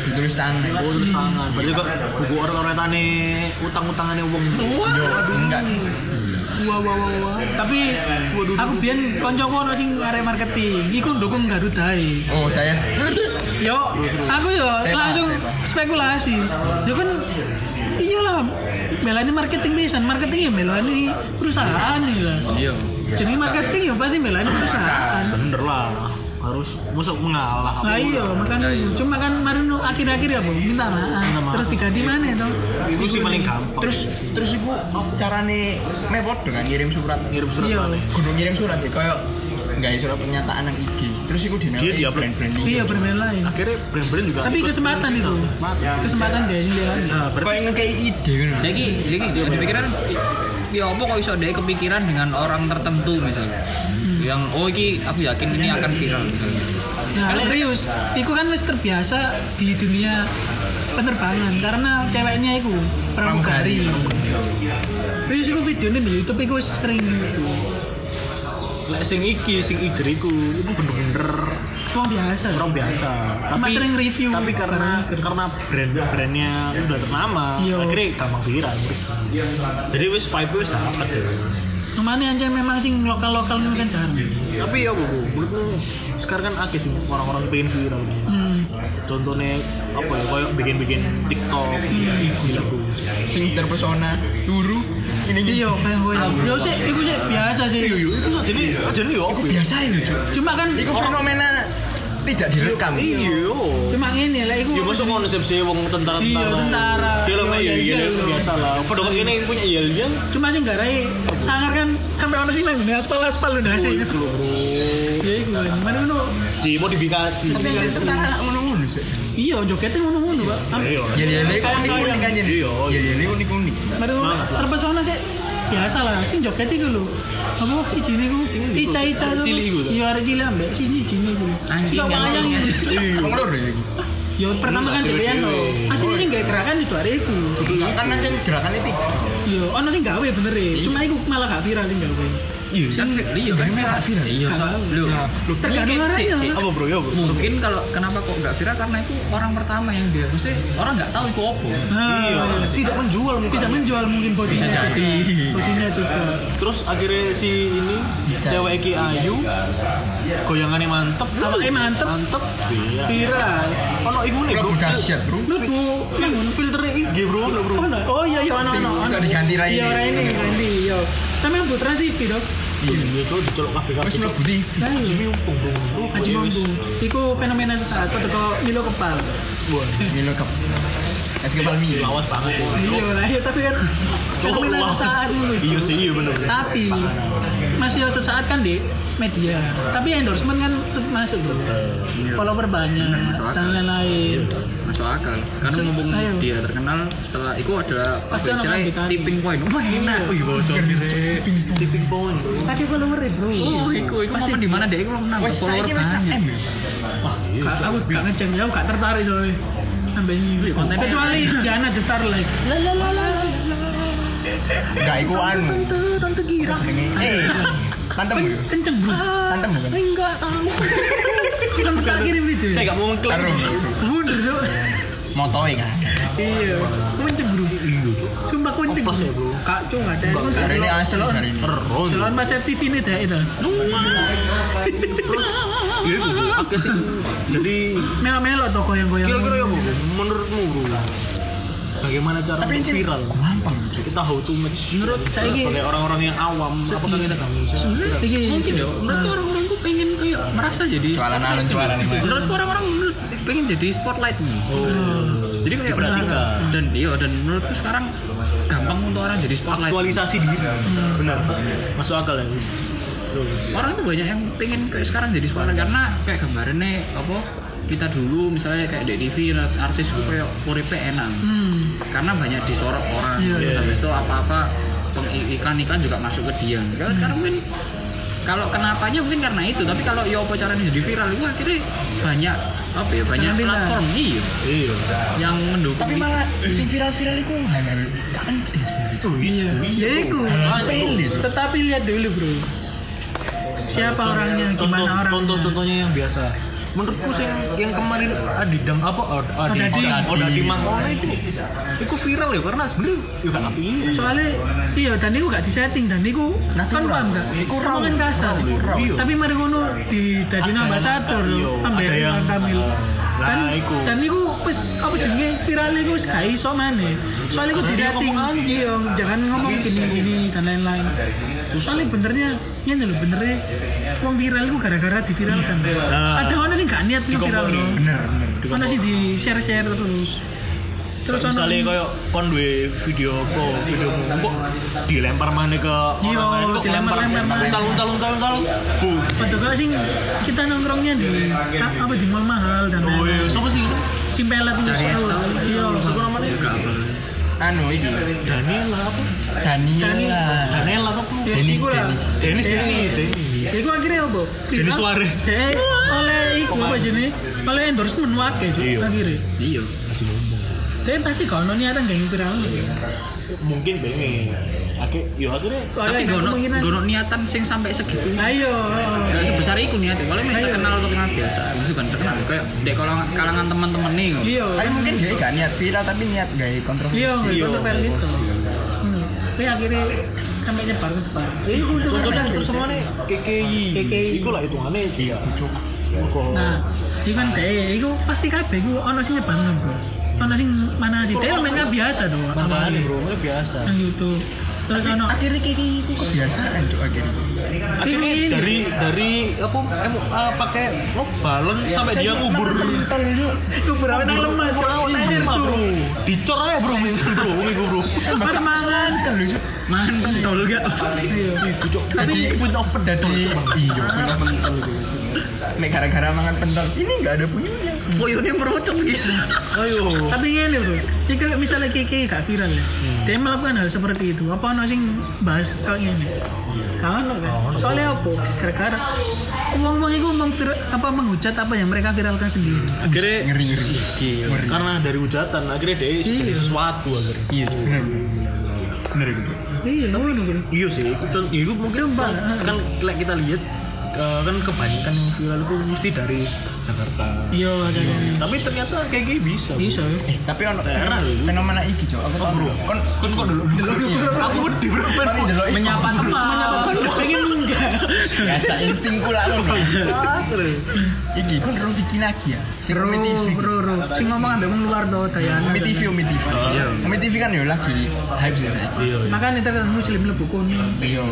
E: ditulis tangan
B: Oh, tulis tangan. Berarti kok buku orang-orang tani utang-utangannya wong.
C: Wah,
E: yo enggak
C: wah, wah, wah, wah. Tapi aku biyen koncoku ono sing arek marketing. Iku ndukung Garuda ae.
E: oh saya
C: Yo, aku yo
E: Saya
C: langsung
E: paham, saya paham.
C: spekulasi. Yo kan iyalah melani marketing pisan, marketing ya melani perusahaan ya.
E: yo
C: Jadi marketing ya pasti melani perusahaan.
B: Bener lah. Harus musuh mengalah.
E: Nah,
C: Lah iya, makanya cuma kan Marino akhir-akhir ya, Bu, minta maaf. Iya. Terus diganti mana dong?
B: Itu sih paling gampang.
E: terus terus iku carane mepot dengan ngirim surat
B: ngirim surat
C: Iya.
B: mana?
E: kudu ngirim surat sih kayak nggak ada surat pernyataan nang IG terus iku di
B: Dia di-upload.
E: brand-brand
C: Iya,
B: gitu.
C: bermain lain.
B: Akhirnya brand-brand juga.
C: Tapi
B: ikut.
C: kesempatan itu. Iya. Kesempatan dia ini dia kan.
B: Nah, berarti
E: kayak ngekei ide ngono
D: Saya ki, saya ki, ada pikiran, ya apa kok bisa ada kepikiran dengan orang tertentu misalnya, yang oh iki aku yakin ini akan viral misalnya.
C: Nah, serius, itu kan wis terbiasa di dunia penerbangan karena ceweknya itu pramugari. Rius itu videonya di YouTube itu wis sering
B: lek sing iki, sing igri ku, itu bener-bener
C: orang biasa.
B: orang biasa.
C: Mas sering review.
B: Tapi karena karena brand-brandnya udah ternama,
C: Iya.
B: akhirnya gampang viral. Jadi wis vibe wis dapat ya.
C: Kemana aja memang sing lokal-lokal ini kan jarang.
B: Tapi ya bu, Bu, menurutku sekarang kan akeh sih orang-orang pengen viral. Hmm. Contohnya apa ya? Kayak bikin-bikin TikTok, gitu.
E: sing terpesona turu ini iki
C: Iya, kayak gue. Yo sih, itu sih biasa sih.
B: Jadi, jadi yo apa ya?
E: biasa ini cuy
C: Cuma kan
E: itu fenomena tidak direkam
B: Iya.
C: cuma ini lah itu.
B: Ya masuk konsep sih wong tentara
C: Iya, tentara.
B: Film
C: Iya,
B: ya
C: iya,
B: iya
C: iya.
B: biasa lah. Padahal ini yang punya yel yel.
C: Cuma sih nggak rai. Sangar kan sampai orang sih main dunia aspal-aspal donasi. Ya itu. Mana itu?
B: Dimodifikasi.
C: Tapi
E: Iya,
C: yang cerita
E: ngono-ngono sih
C: Iya, jogetnya ngono-ngono, Pak.
B: Iya.
E: ya ya ini
C: Saya
E: unik-unik kan jadi
B: Iya,
E: ya ya ini unik-unik
C: Baru
B: Semangat lah.
C: terpesona sih biasa lah sing joget iku lho apa si jini ku sing ica ica
B: Cilik iku ta?
C: iya arek cilik ambek si si jini ku
D: Anjing,
C: Kok wayang
D: anjing.
C: iku?
E: Wong loro ya iki.
C: yo pertama kan dhewean lho asline sing gawe gerakan itu arek iku
E: kan ancen gerakannya tiga
C: yo ono sing gawe bener e cuma iku malah gak viral sing gawe
E: iya
D: Kan viral, iya kan viral. Iya, so, lho.
C: tergantung
D: Mungkin, sik,
C: orangnya
D: sik.
B: Apa bro ya bro?
D: Mungkin kalau kenapa kok nggak viral karena itu orang pertama yang dia, mesti orang nggak tahu itu apa.
C: iya tidak menjual mungkin tidak menjual mungkin bodinya
D: Bisa
C: juga bodinya juga
B: Terus akhirnya si ini
C: Iya.
B: cewek Ki Ayu goyangannya mantep.
C: awalnya eh, mantep
B: Mantep.
C: viral
B: Ono ibu nih bro.
E: Bro, dahsyat bro
C: lu bu
B: Filternya IG bro. ono, bro.
C: Oh, no. oh iya iya ono
E: Sing
C: ono.
E: bisa diganti rai
C: Iya
E: ini.
C: rai ini ganti yo. Tapi yang putra TV dok.
B: Iya cowok dicolok kabeh kabeh.
E: wes mlebu TV
C: Haji Mumpung. Nah, iya. Haji Mumpung. Iku fenomena sesaat kok teko Milo kepal.
E: Milo Cup es kepal Milo
B: Lawas banget sih.
C: Iya lah iya tapi kan fenomena
B: lawas.
C: sesaat dulu.
B: Iya sih iya bener.
C: Tapi masih sesaat kan di media. Tapi endorsement kan tetep masuk bro. Follower banyak
D: masuk akal. Iya.
C: dan lain-lain.
D: Masuk akal. Karena
C: Maksud-
D: mumpung
C: ayo.
D: dia terkenal setelah itu ada apa
C: Pasti orang
D: istilahnya
C: lanjutan.
D: tipping point. Wah enak. Wih, bos.
B: Tipping point. bro.
C: Tapi follower bro.
E: iya.
D: Oh, iku iku momen di mana dia iku nambah
E: wes
D: follower
E: saiki wes
D: banyak.
E: M
C: Gak- aku gak ngeceng ya, aku gak tertarik soalnya sampai ini
D: kontennya-
C: kecuali Diana The Starlight la la la la
E: gak iku anu
C: tante girang
E: eh mantep ya
C: kenceng bro
E: mantep bukan
C: enggak tahu kan tak kirim video
B: Saya gitu. gak mau ngeklaim.
E: taruh
C: mundur Cuk.
E: motoe kan
C: iya Aku kenceng bro sumpah aku kenceng
B: Oplos ya, Bro.
C: kak Cuk, gak ada Aku
E: hari ini
C: delok-
E: asli
C: delok-
E: hari ini
B: Terus.
C: delok Mas FTV ini deh itu
B: Iya, Bu. Oke sih. Jadi
C: melo-melo tuh goyang-goyang
B: kira-kira ya bu, menurutmu Bu, bagaimana cara
E: Tapi
B: untuk
E: ini-
B: viral?
E: gampang cuy
B: Kita how to make
C: Menurut saya ini-
B: sebagai orang-orang yang awam, apakah kita nggak bisa?
C: Iki-
D: Mungkin ya, menurut orang-orang tuh pengen kayak merasa jadi
E: Iya. jualan alun jualan anu. Oh, iya, ini
D: Menurut orang-orang menurut- pengen jadi spotlight nih. Jadi kayak merasa
B: Diperhatikan.
D: dan iya dan menurutku sekarang gampang untuk orang jadi spotlight.
B: Aktualisasi diri, benar, masuk akal ya. Gus?
D: Orang tuh banyak yang pengen kayak sekarang jadi spotlight karena kayak gambarannya apa kita dulu misalnya kayak di TV artis gue kayak uripe enak
E: Hmm.
D: karena banyak disorot
E: Iya,
D: orang terus habis itu apa-apa peng- iklan-iklan juga masuk ke dia kalau sekarang mungkin kalau kenapanya mungkin karena itu tapi kalau yo apa caranya jadi viral itu akhirnya banyak apa ya banyak
C: Penampilan.
D: platform iya
B: iya
D: yang mendukung
E: tapi
D: itu.
E: malah si viral-viral itu hanya gak penting sebenarnya itu iya
C: ya itu
E: hal sepele itu.
C: tetapi lihat dulu bro siapa orangnya
B: contoh,
C: gimana orangnya
B: contoh-contohnya yang biasa menurutku sing yang kemarin adidang apa Ad- adidang
C: Odading.
B: odading mangkono itu itu viral ya karena sebenarnya ya gak kepilih
C: soalnya iya dan itu gak disetting dan itu kan paham gak itu kan kasar
B: Iya.
C: tapi mari ngono di tadi
B: Ada
C: nambah
B: yang-
C: satu
B: iya,
C: ambil
B: ada yang-
C: kamil
B: Nah,
C: dan
B: iku.
C: dan itu wis apa jenenge viral itu wis gak iso maneh soalnya itu
B: Karena dia
C: disetting
B: ngomong anjing.
C: iya jangan ngomong gini gini dan lain-lain soalnya benernya ya nih benernya uang viral itu gara-gara diviralkan ada orang sih gak niat viral bener bener sih di share-share terus terus ono-
B: misalnya koyo kon duwe video apa video kok dilempar mana ke
C: Iya,
B: orang lain kok
C: dilempar-
B: dilempar
C: lempar
B: untal untal untal untal bu
C: Padahal sing kita nongkrongnya di ka- apa di mall mahal dan
B: oh iya siapa sih itu?
C: simpelet itu iya
B: siapa namanya
E: anu ini
B: Daniela apa
E: Daniela
B: Daniela apa
C: Ya,
E: Dennis,
C: iku lah.
E: Dennis.
B: Dennis Dennis Dennis
C: Iku akhirnya apa?
B: Dennis
C: Viral.
B: Suarez
C: Eh, oleh iku apa jenis? Oleh endorsement wakil
B: Iya.
C: akhirnya.
B: iya masih ngomong
C: Tapi pasti kalau nanya ada nggak yang viral.
B: Iya. mungkin pengen akhir yo akhirnya
D: tapi gono gono niatan sing sampai segitu
E: Nah,
C: Ayo. iya.
D: Gak sebesar itu niatnya, paling meh terkenal terkenal biasa, itu kan terkenal kayak di kalangan, kalangan teman-teman nih.
C: Iya.
E: tapi mungkin dia gak niat viral tapi niat gak kontroversi
C: Iya, kontroversi itu. Hmm. Tapi akhirnya sampai nyebar nyebar.
B: Iya,
C: Iku itu
B: contohnya
C: kan.
B: itu semua nih KKI
C: KKI.
B: iku lah hitungannya iya bujuk
C: Nah, iku kan kayak, iku pasti kabeh iku ono sing nyebar bro. Ono sing mana sih? Tapi mainnya biasa doang.
B: makanya bro ini biasa
C: nang YouTube terus ono
E: akhirnya kayak gitu kebiasaan cok akhirnya
B: akhirnya
C: Ini-
B: dari dari apa em, eh, pakai oh, balon sampai dia ngubur
C: itu berapa nang lemah
B: Ngubur
C: cok
B: awal nang
C: Nasir
B: lemah,
C: tuh.
B: bro dicor aja bro misal bro ini gue bro
C: permasalahan kan lucu
D: Man, pentol gak?
E: jadi pun of pedati iya pun of pentel nek gara-gara mangan pentel ini gak ada punyanya
D: Poyone merocot gitu.
B: ayo
C: tapi ini bro jika misalnya kiki gak viral ya dia melakukan hal seperti itu apa ono sing bahas kau ini kau ono kan soalnya apa gara-gara uang uang itu mengvir- apa menghujat apa yang mereka viralkan sendiri
B: akhirnya
E: ngeri-ngeri ngeri
B: karena dari hujatan akhirnya dia jadi sesuatu akhirnya
E: iya Cok. bener bener gitu
C: iya ngono bro
B: Iya sih, itu, itu- itu mungkin kan, kan like kita lihat eh, kan kebanyakan yang viral itu mesti dari Jakarta.
C: iya ada ada-
B: Tapi ternyata kayak gini bisa. Bu.
C: bisa ya.
E: eh tapi ono
B: Heran lu.
E: fenomena iki cok aku tau Oh, bro kon kon kok dulu
B: Kan Aku wedi bro. Ben.
D: Menyapa teman.
B: Pengen enggak.
E: biasa instingku lah ngono. iki kon ro bikin lagi ya sing Umi TV
C: bro bro sing ngomong ambek wong luar tuh Dayana
E: Umi TV Umi TV Umi TV kan yo lagi hype sih saiki
C: makanya terus muslim lebu kuning
E: Iya.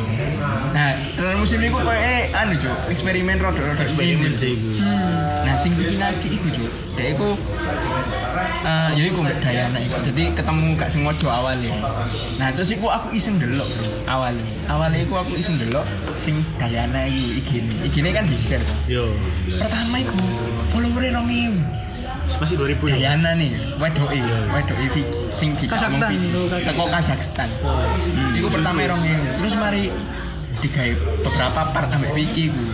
E: Nah, dalam musim ini kok eh anu cuk, eksperimen rodo rodo eksperimen
B: sih.
E: Hmm. Nah, sing bikin lagi iku cuk. Dek iku eh ya iku Mbak Dayana iku. Jadi ketemu gak sengaja awalnya. Nah, terus iku aku iseng delok bro, awalnya. Awalnya iku aku iseng delok sing Dayana iku igine. Igine kan di-share. kan.
B: Yo,
E: Pertama iku followernya 2000.
B: masih 2000 ya.
E: Dayana nih, wedoke, wedoke Vicky sing dicamong
C: Kazakhstan,
E: Vicky.
C: itu Kazakhstan.
E: Teko oh, Kazakhstan. Hmm. Iku pertama rong ewu. Terus mari digawe beberapa part ambek Vicky ku.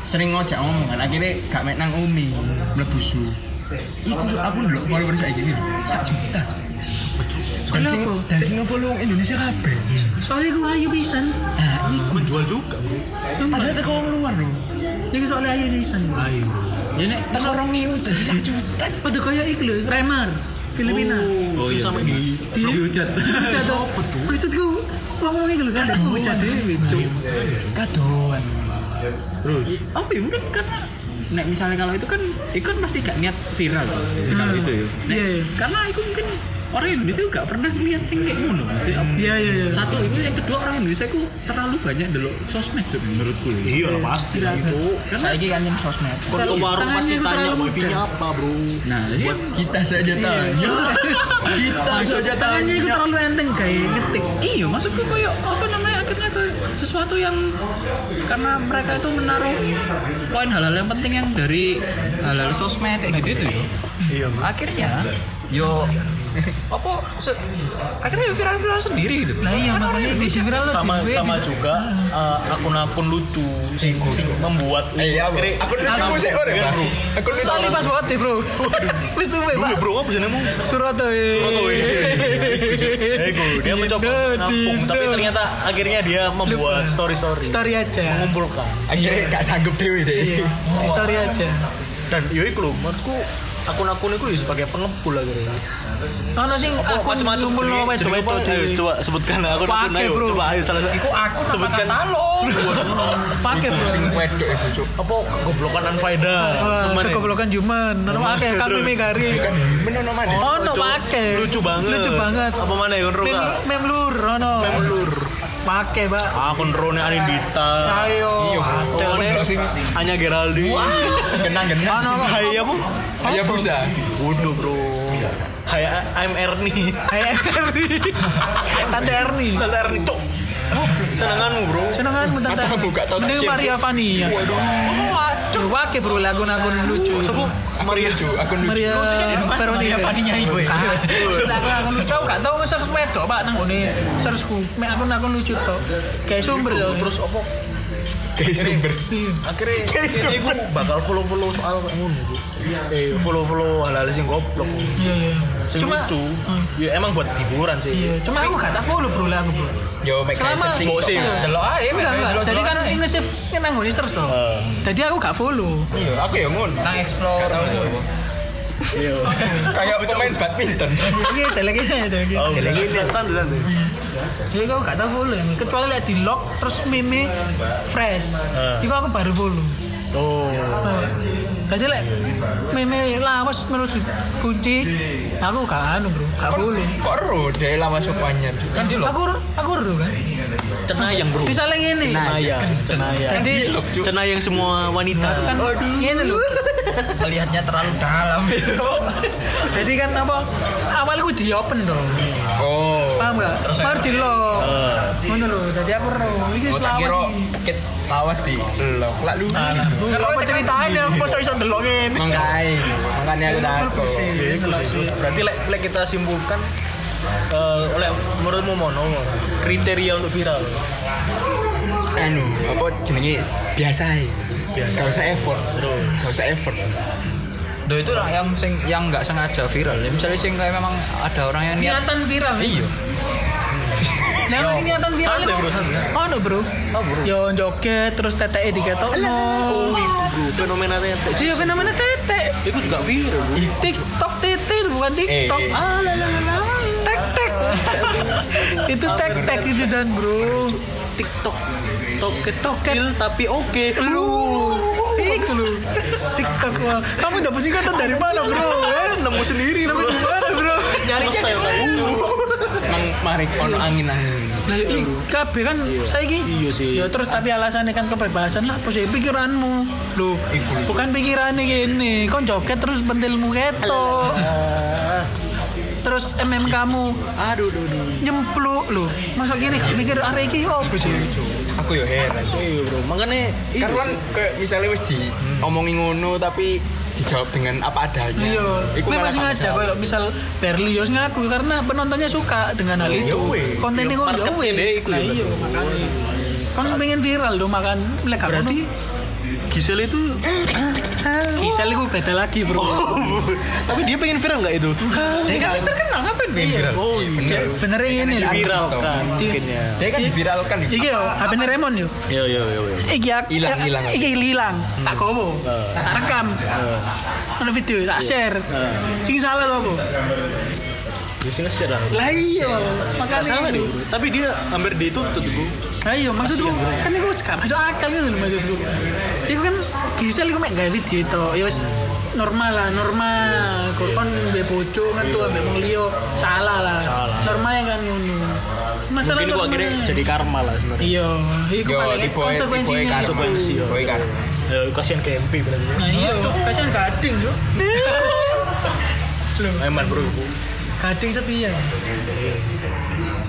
E: Sering ngojak ngomongan, akhirnya gak mek nang Umi, mlebu su. Iku su- aku ndelok follower saiki iki lho, sak juta. Dan sing
C: Kenapa?
E: dan sing follow Indonesia kabeh.
C: soalnya gue ayu pisan
E: Nah, iku
B: Menjual juga.
C: Sumpah.
E: padahal teko wong luar lho.
C: Iki soalnya ayu sisan.
B: Ayo.
D: Ya nek
E: Teko rong ewu dadi sak juta.
C: Padha kaya iki lho, Remar, Filipina.
B: Oh, iya. Sama di
C: Dihujat. Hujat to. Maksudku, wong-wong iki lho kan hujat dhewe, cuk.
E: Kadoan.
D: apa ya mungkin karena nek misalnya kalau itu kan itu kan pasti gak niat viral Cok. kalau itu ya. Nek,
C: Iya, iya.
D: Karena itu mungkin orang Indonesia gak pernah lihat sing kayak ngono Maksudnya apa-
C: Iya, iya, iya.
D: Satu itu yang kedua orang Indonesia ku terlalu banyak delok sosmed Cok, menurutku.
C: Nah,
D: ya.
B: Iya lah pasti lah itu.
D: Karena
E: Saiki kan yang sosmed.
B: Kon ke warung
C: Tangannya
B: pasti
C: itu
B: tanya
C: terlalu
B: wifi-nya apa bro.
D: nah, jadi kan
E: Kita saja tanya. Iya. Kita saja
C: Tangannya iku terlalu enteng gawe ngetik.
D: Iya, maksudku koyo apa namanya akhirnya ke sesuatu yang karena mereka itu menaruh poin hal-hal yang penting yang dari hal-hal sosmed kayak gitu itu yo.
C: Iya,
D: Akhirnya yo apa se- akhirnya yo viral-viral sendiri gitu.
C: Nah iya
D: Kan orang
C: makanya
D: Indonesia
C: viral lah,
B: sama
C: di-
B: sama
C: di-
B: juga eh, akun-akun lucu sing, sing membuat akhirnya-
E: Aku lucu
B: Akun-
E: sih orang
B: Iya, bro.
E: Aku lucu.
C: Soalnya pas banget deh, bro. Wis tuh
B: Duh,
C: Pak.
B: Iya, bro apa jenengmu Iya. Eh, gue, dia mencoba nampung tapi ternyata akhirnya dia membuat story story
C: Story aja.
B: mengumpulkan
E: Akhirnya gak sanggup dewe deh.
C: Story aja.
B: dan yo iku lho menurutku akun-akun itu ya sebagai pengepul akhirnya
C: Ono sing
B: Apa,
C: aku
B: macam-macam
C: ngumpul no
B: jenenge-
C: wedok
B: jenenge apa?
C: wedok
B: Ayo,
C: dhewe.
B: coba sebutkan akun akun
C: Pakai,
B: ayo
C: bro.
B: coba ayo salah
D: Iku akun apa
B: sebutkan
D: kata lo?
C: Pakai bro.
E: Sing wedok itu cuk.
B: apa kegoblokan Anfaida
C: Wah,
B: Cuman,
C: Kegoblokan Juman. Ono pakai kami
B: Terus.
C: megari.
E: Menono mana?
C: Ono
B: lucu-
C: pakai.
B: lucu banget
C: Lucu banget.
B: apa mana ya konro
C: Mem- Mem lur ono.
B: lur
C: Pakai, Pak. Iya,
B: akun rone Anindita
C: Ayo.
B: Rone hanya Geraldi
E: Genang-genang.
C: Ono kok.
B: Hai apa
E: Ya busa.
B: Waduh bro Hai I- I'm Ernie
C: Ayo, Erni. Tante Erni.
B: Tante Ernie tuh Senenganmu bro
C: Senenganmu kan, Tante.
E: Mata buka, tau tak
C: Mending
E: siap,
C: Maria Fani ya. Waduh. Pakai bro lagu-lagu lucu.
E: Aku lucu, aku lucu.
C: Maria Veronica.
E: Fadinya ibu ya.
C: Lah aku aku lucu aku gak tau search wedok Pak nang ngene searchku. Mek aku aku lucu tok. Kayak sumber tok terus opo
E: Kayak sumber.
B: Akhirnya Ini gue bakal follow-follow soal kayak ngono Bu. Eh follow-follow hal-hal sing goblok
C: Iya iya.
B: Sing
C: Cuma Hmm.
B: lucu Ya emang buat hiburan sih
C: iya, cuma aku gak tak follow bro lah aku bro.
E: Yo make kayak
C: Selama- Iya.
E: searching.
B: Mbok sih
E: Delok ae.
C: Enggak enggak. Jadi kan ini nge-save ini nang ngene search tok. Jadi aku gak follow.
E: Iya, aku ya ngono.
D: Nang explore. Iya.
E: Kayak pemain badminton.
C: Iki telek iki telek.
B: Oh, ini santai-santai.
C: Jadi aku gak tau follow kecuali lihat di log terus meme fresh. Iku aku baru follow.
B: Oh,
C: Gak jelek. Meme lawas menurut kunci. Aku gak anu bro, gak follow.
E: Kok ero dhewe lawas sopannya. Kan di lo.
C: Aku aku dulu kan.
B: cenayang bro.
C: Misalnya gini.
E: Nah, iya.
B: Cenayang, cenayang.
C: Jadi
B: Cenayang semua wanita.
C: kan gini loh.
D: Melihatnya terlalu dalam.
C: Jadi kan apa? Awalku di open dong.
E: Oh.
C: Paham gak? Baru di lock. Ngono lho. Jadi aku ro. Iki
E: Oh, tak
C: selawas
E: kira
C: iki.
E: ket lawas di delok. Lah lu.
C: Nggak apa ceritanya aku pas iso delok ngene.
E: Mangkai. Makanya aku takut.
B: Iya, Berarti lek lek kita simpulkan eh, oleh menurutmu mono kriteria untuk viral.
E: anu apa jenenge biasa ae. Gak usah effort. Gak usah effort.
D: Duh itu lah yang sing yang nggak sengaja viral. Ya, misalnya sing kayak memang ada orang yang niat
C: Niatan viral.
D: Iya.
C: Nah, masih niatan viral.
B: Santai, bro, santai.
C: Oh, no, bro. Yo joget terus teteke diketokno.
B: Oh, iku bro, fenomena tetek.
C: Iya fenomena tete.
B: Iku juga viral. bro.
C: TikTok tete itu bukan TikTok.
E: Eh, eh.
C: Ah lalalala. Tek tek. itu tek tek itu dan bro.
B: TikTok. Toket toket tapi oke.
C: Lu. Iku lu. TikTok wah. Kamu dapat singkatan dari mana bro? Eh,
B: nemu sendiri bro.
C: Dapat dari mana bro?
B: Nyari
E: Nang mari ono angin-angin.
C: Lah iya, KB kan saiki.
B: Iya sih.
C: Ya terus tapi alasannya kan kebebasan lah posisi pikiranmu. Loh, bukan pikirannya gini. Kon joget terus pentilmu ketok. terus MM kamu
B: Aduh, aduh, aduh.
C: nyempluk loh masa gini gak mikir arek iki opo sih
E: Aku yo heran.
B: Iya bro, Iya, makanya
C: Iya
E: Kan kan kayak misalnya wis di omongin ngono tapi dijawab dengan apa adanya.
C: Hmm. iya
E: Iku
C: memang
E: malah
C: sengaja
E: kacau.
C: kayak misal Berlioz ngaku karena penontonnya suka dengan
B: Oh,
C: hal itu
E: weh.
C: kontennya kok
B: iya,
C: ya
B: marketnya dia
C: weh
B: iku
C: nah
B: ya,
C: iya makanya kan pengen viral loh makan lek gak
B: berarti
C: ngono.
B: Gisel itu
C: Gisel itu beda lagi bro
B: Oh. tapi dia pengen viral nggak itu?
D: Dia kan harus terkenal ngapain Ben?
B: Oh, iya.
C: bener ini loh.
B: viral kan
C: Di-
B: mungkinnya.
E: Dia
C: Iya.
E: kan diviralkan gitu.
C: iki yo HP Raymond yo
B: Iya, iya, iya. iya.
C: iki aku
E: Hilang, hilang.
C: iki hilang
B: Hmm.
C: tak
B: Eh.
C: gowo tak rekam ada video
B: Iya.
C: tak share
B: Eh.
C: sing salah lho apa
B: Biasanya share lah.
C: lah iya
B: Nggak salah
C: makanya
B: deh,
C: itu.
B: bro. Tapi dia hampir dituntut bu.
C: Ayo maksudku kan iku wis gak masuk akal gitu loh maksudku. Iku kan Gisel iku mek gawe video itu ya wis normal lah normal kok kon duwe bojo metu ambek wong liya salah lah. Normal ya kan ngono. Masalah
B: Mungkin gua
C: normal.
B: akhirnya jadi karma lah sebenarnya.
C: Iya, iku
E: Yo,
C: paling
E: tipe tipe
C: konsekuensinya. Iya.
E: kan
B: Konsekuensi, yo.
E: Boy kan.
B: Ya, kasihan ke MP berarti.
C: Nah iya, kasihan gading yo.
B: Eman bro, bu.
C: Gading setia.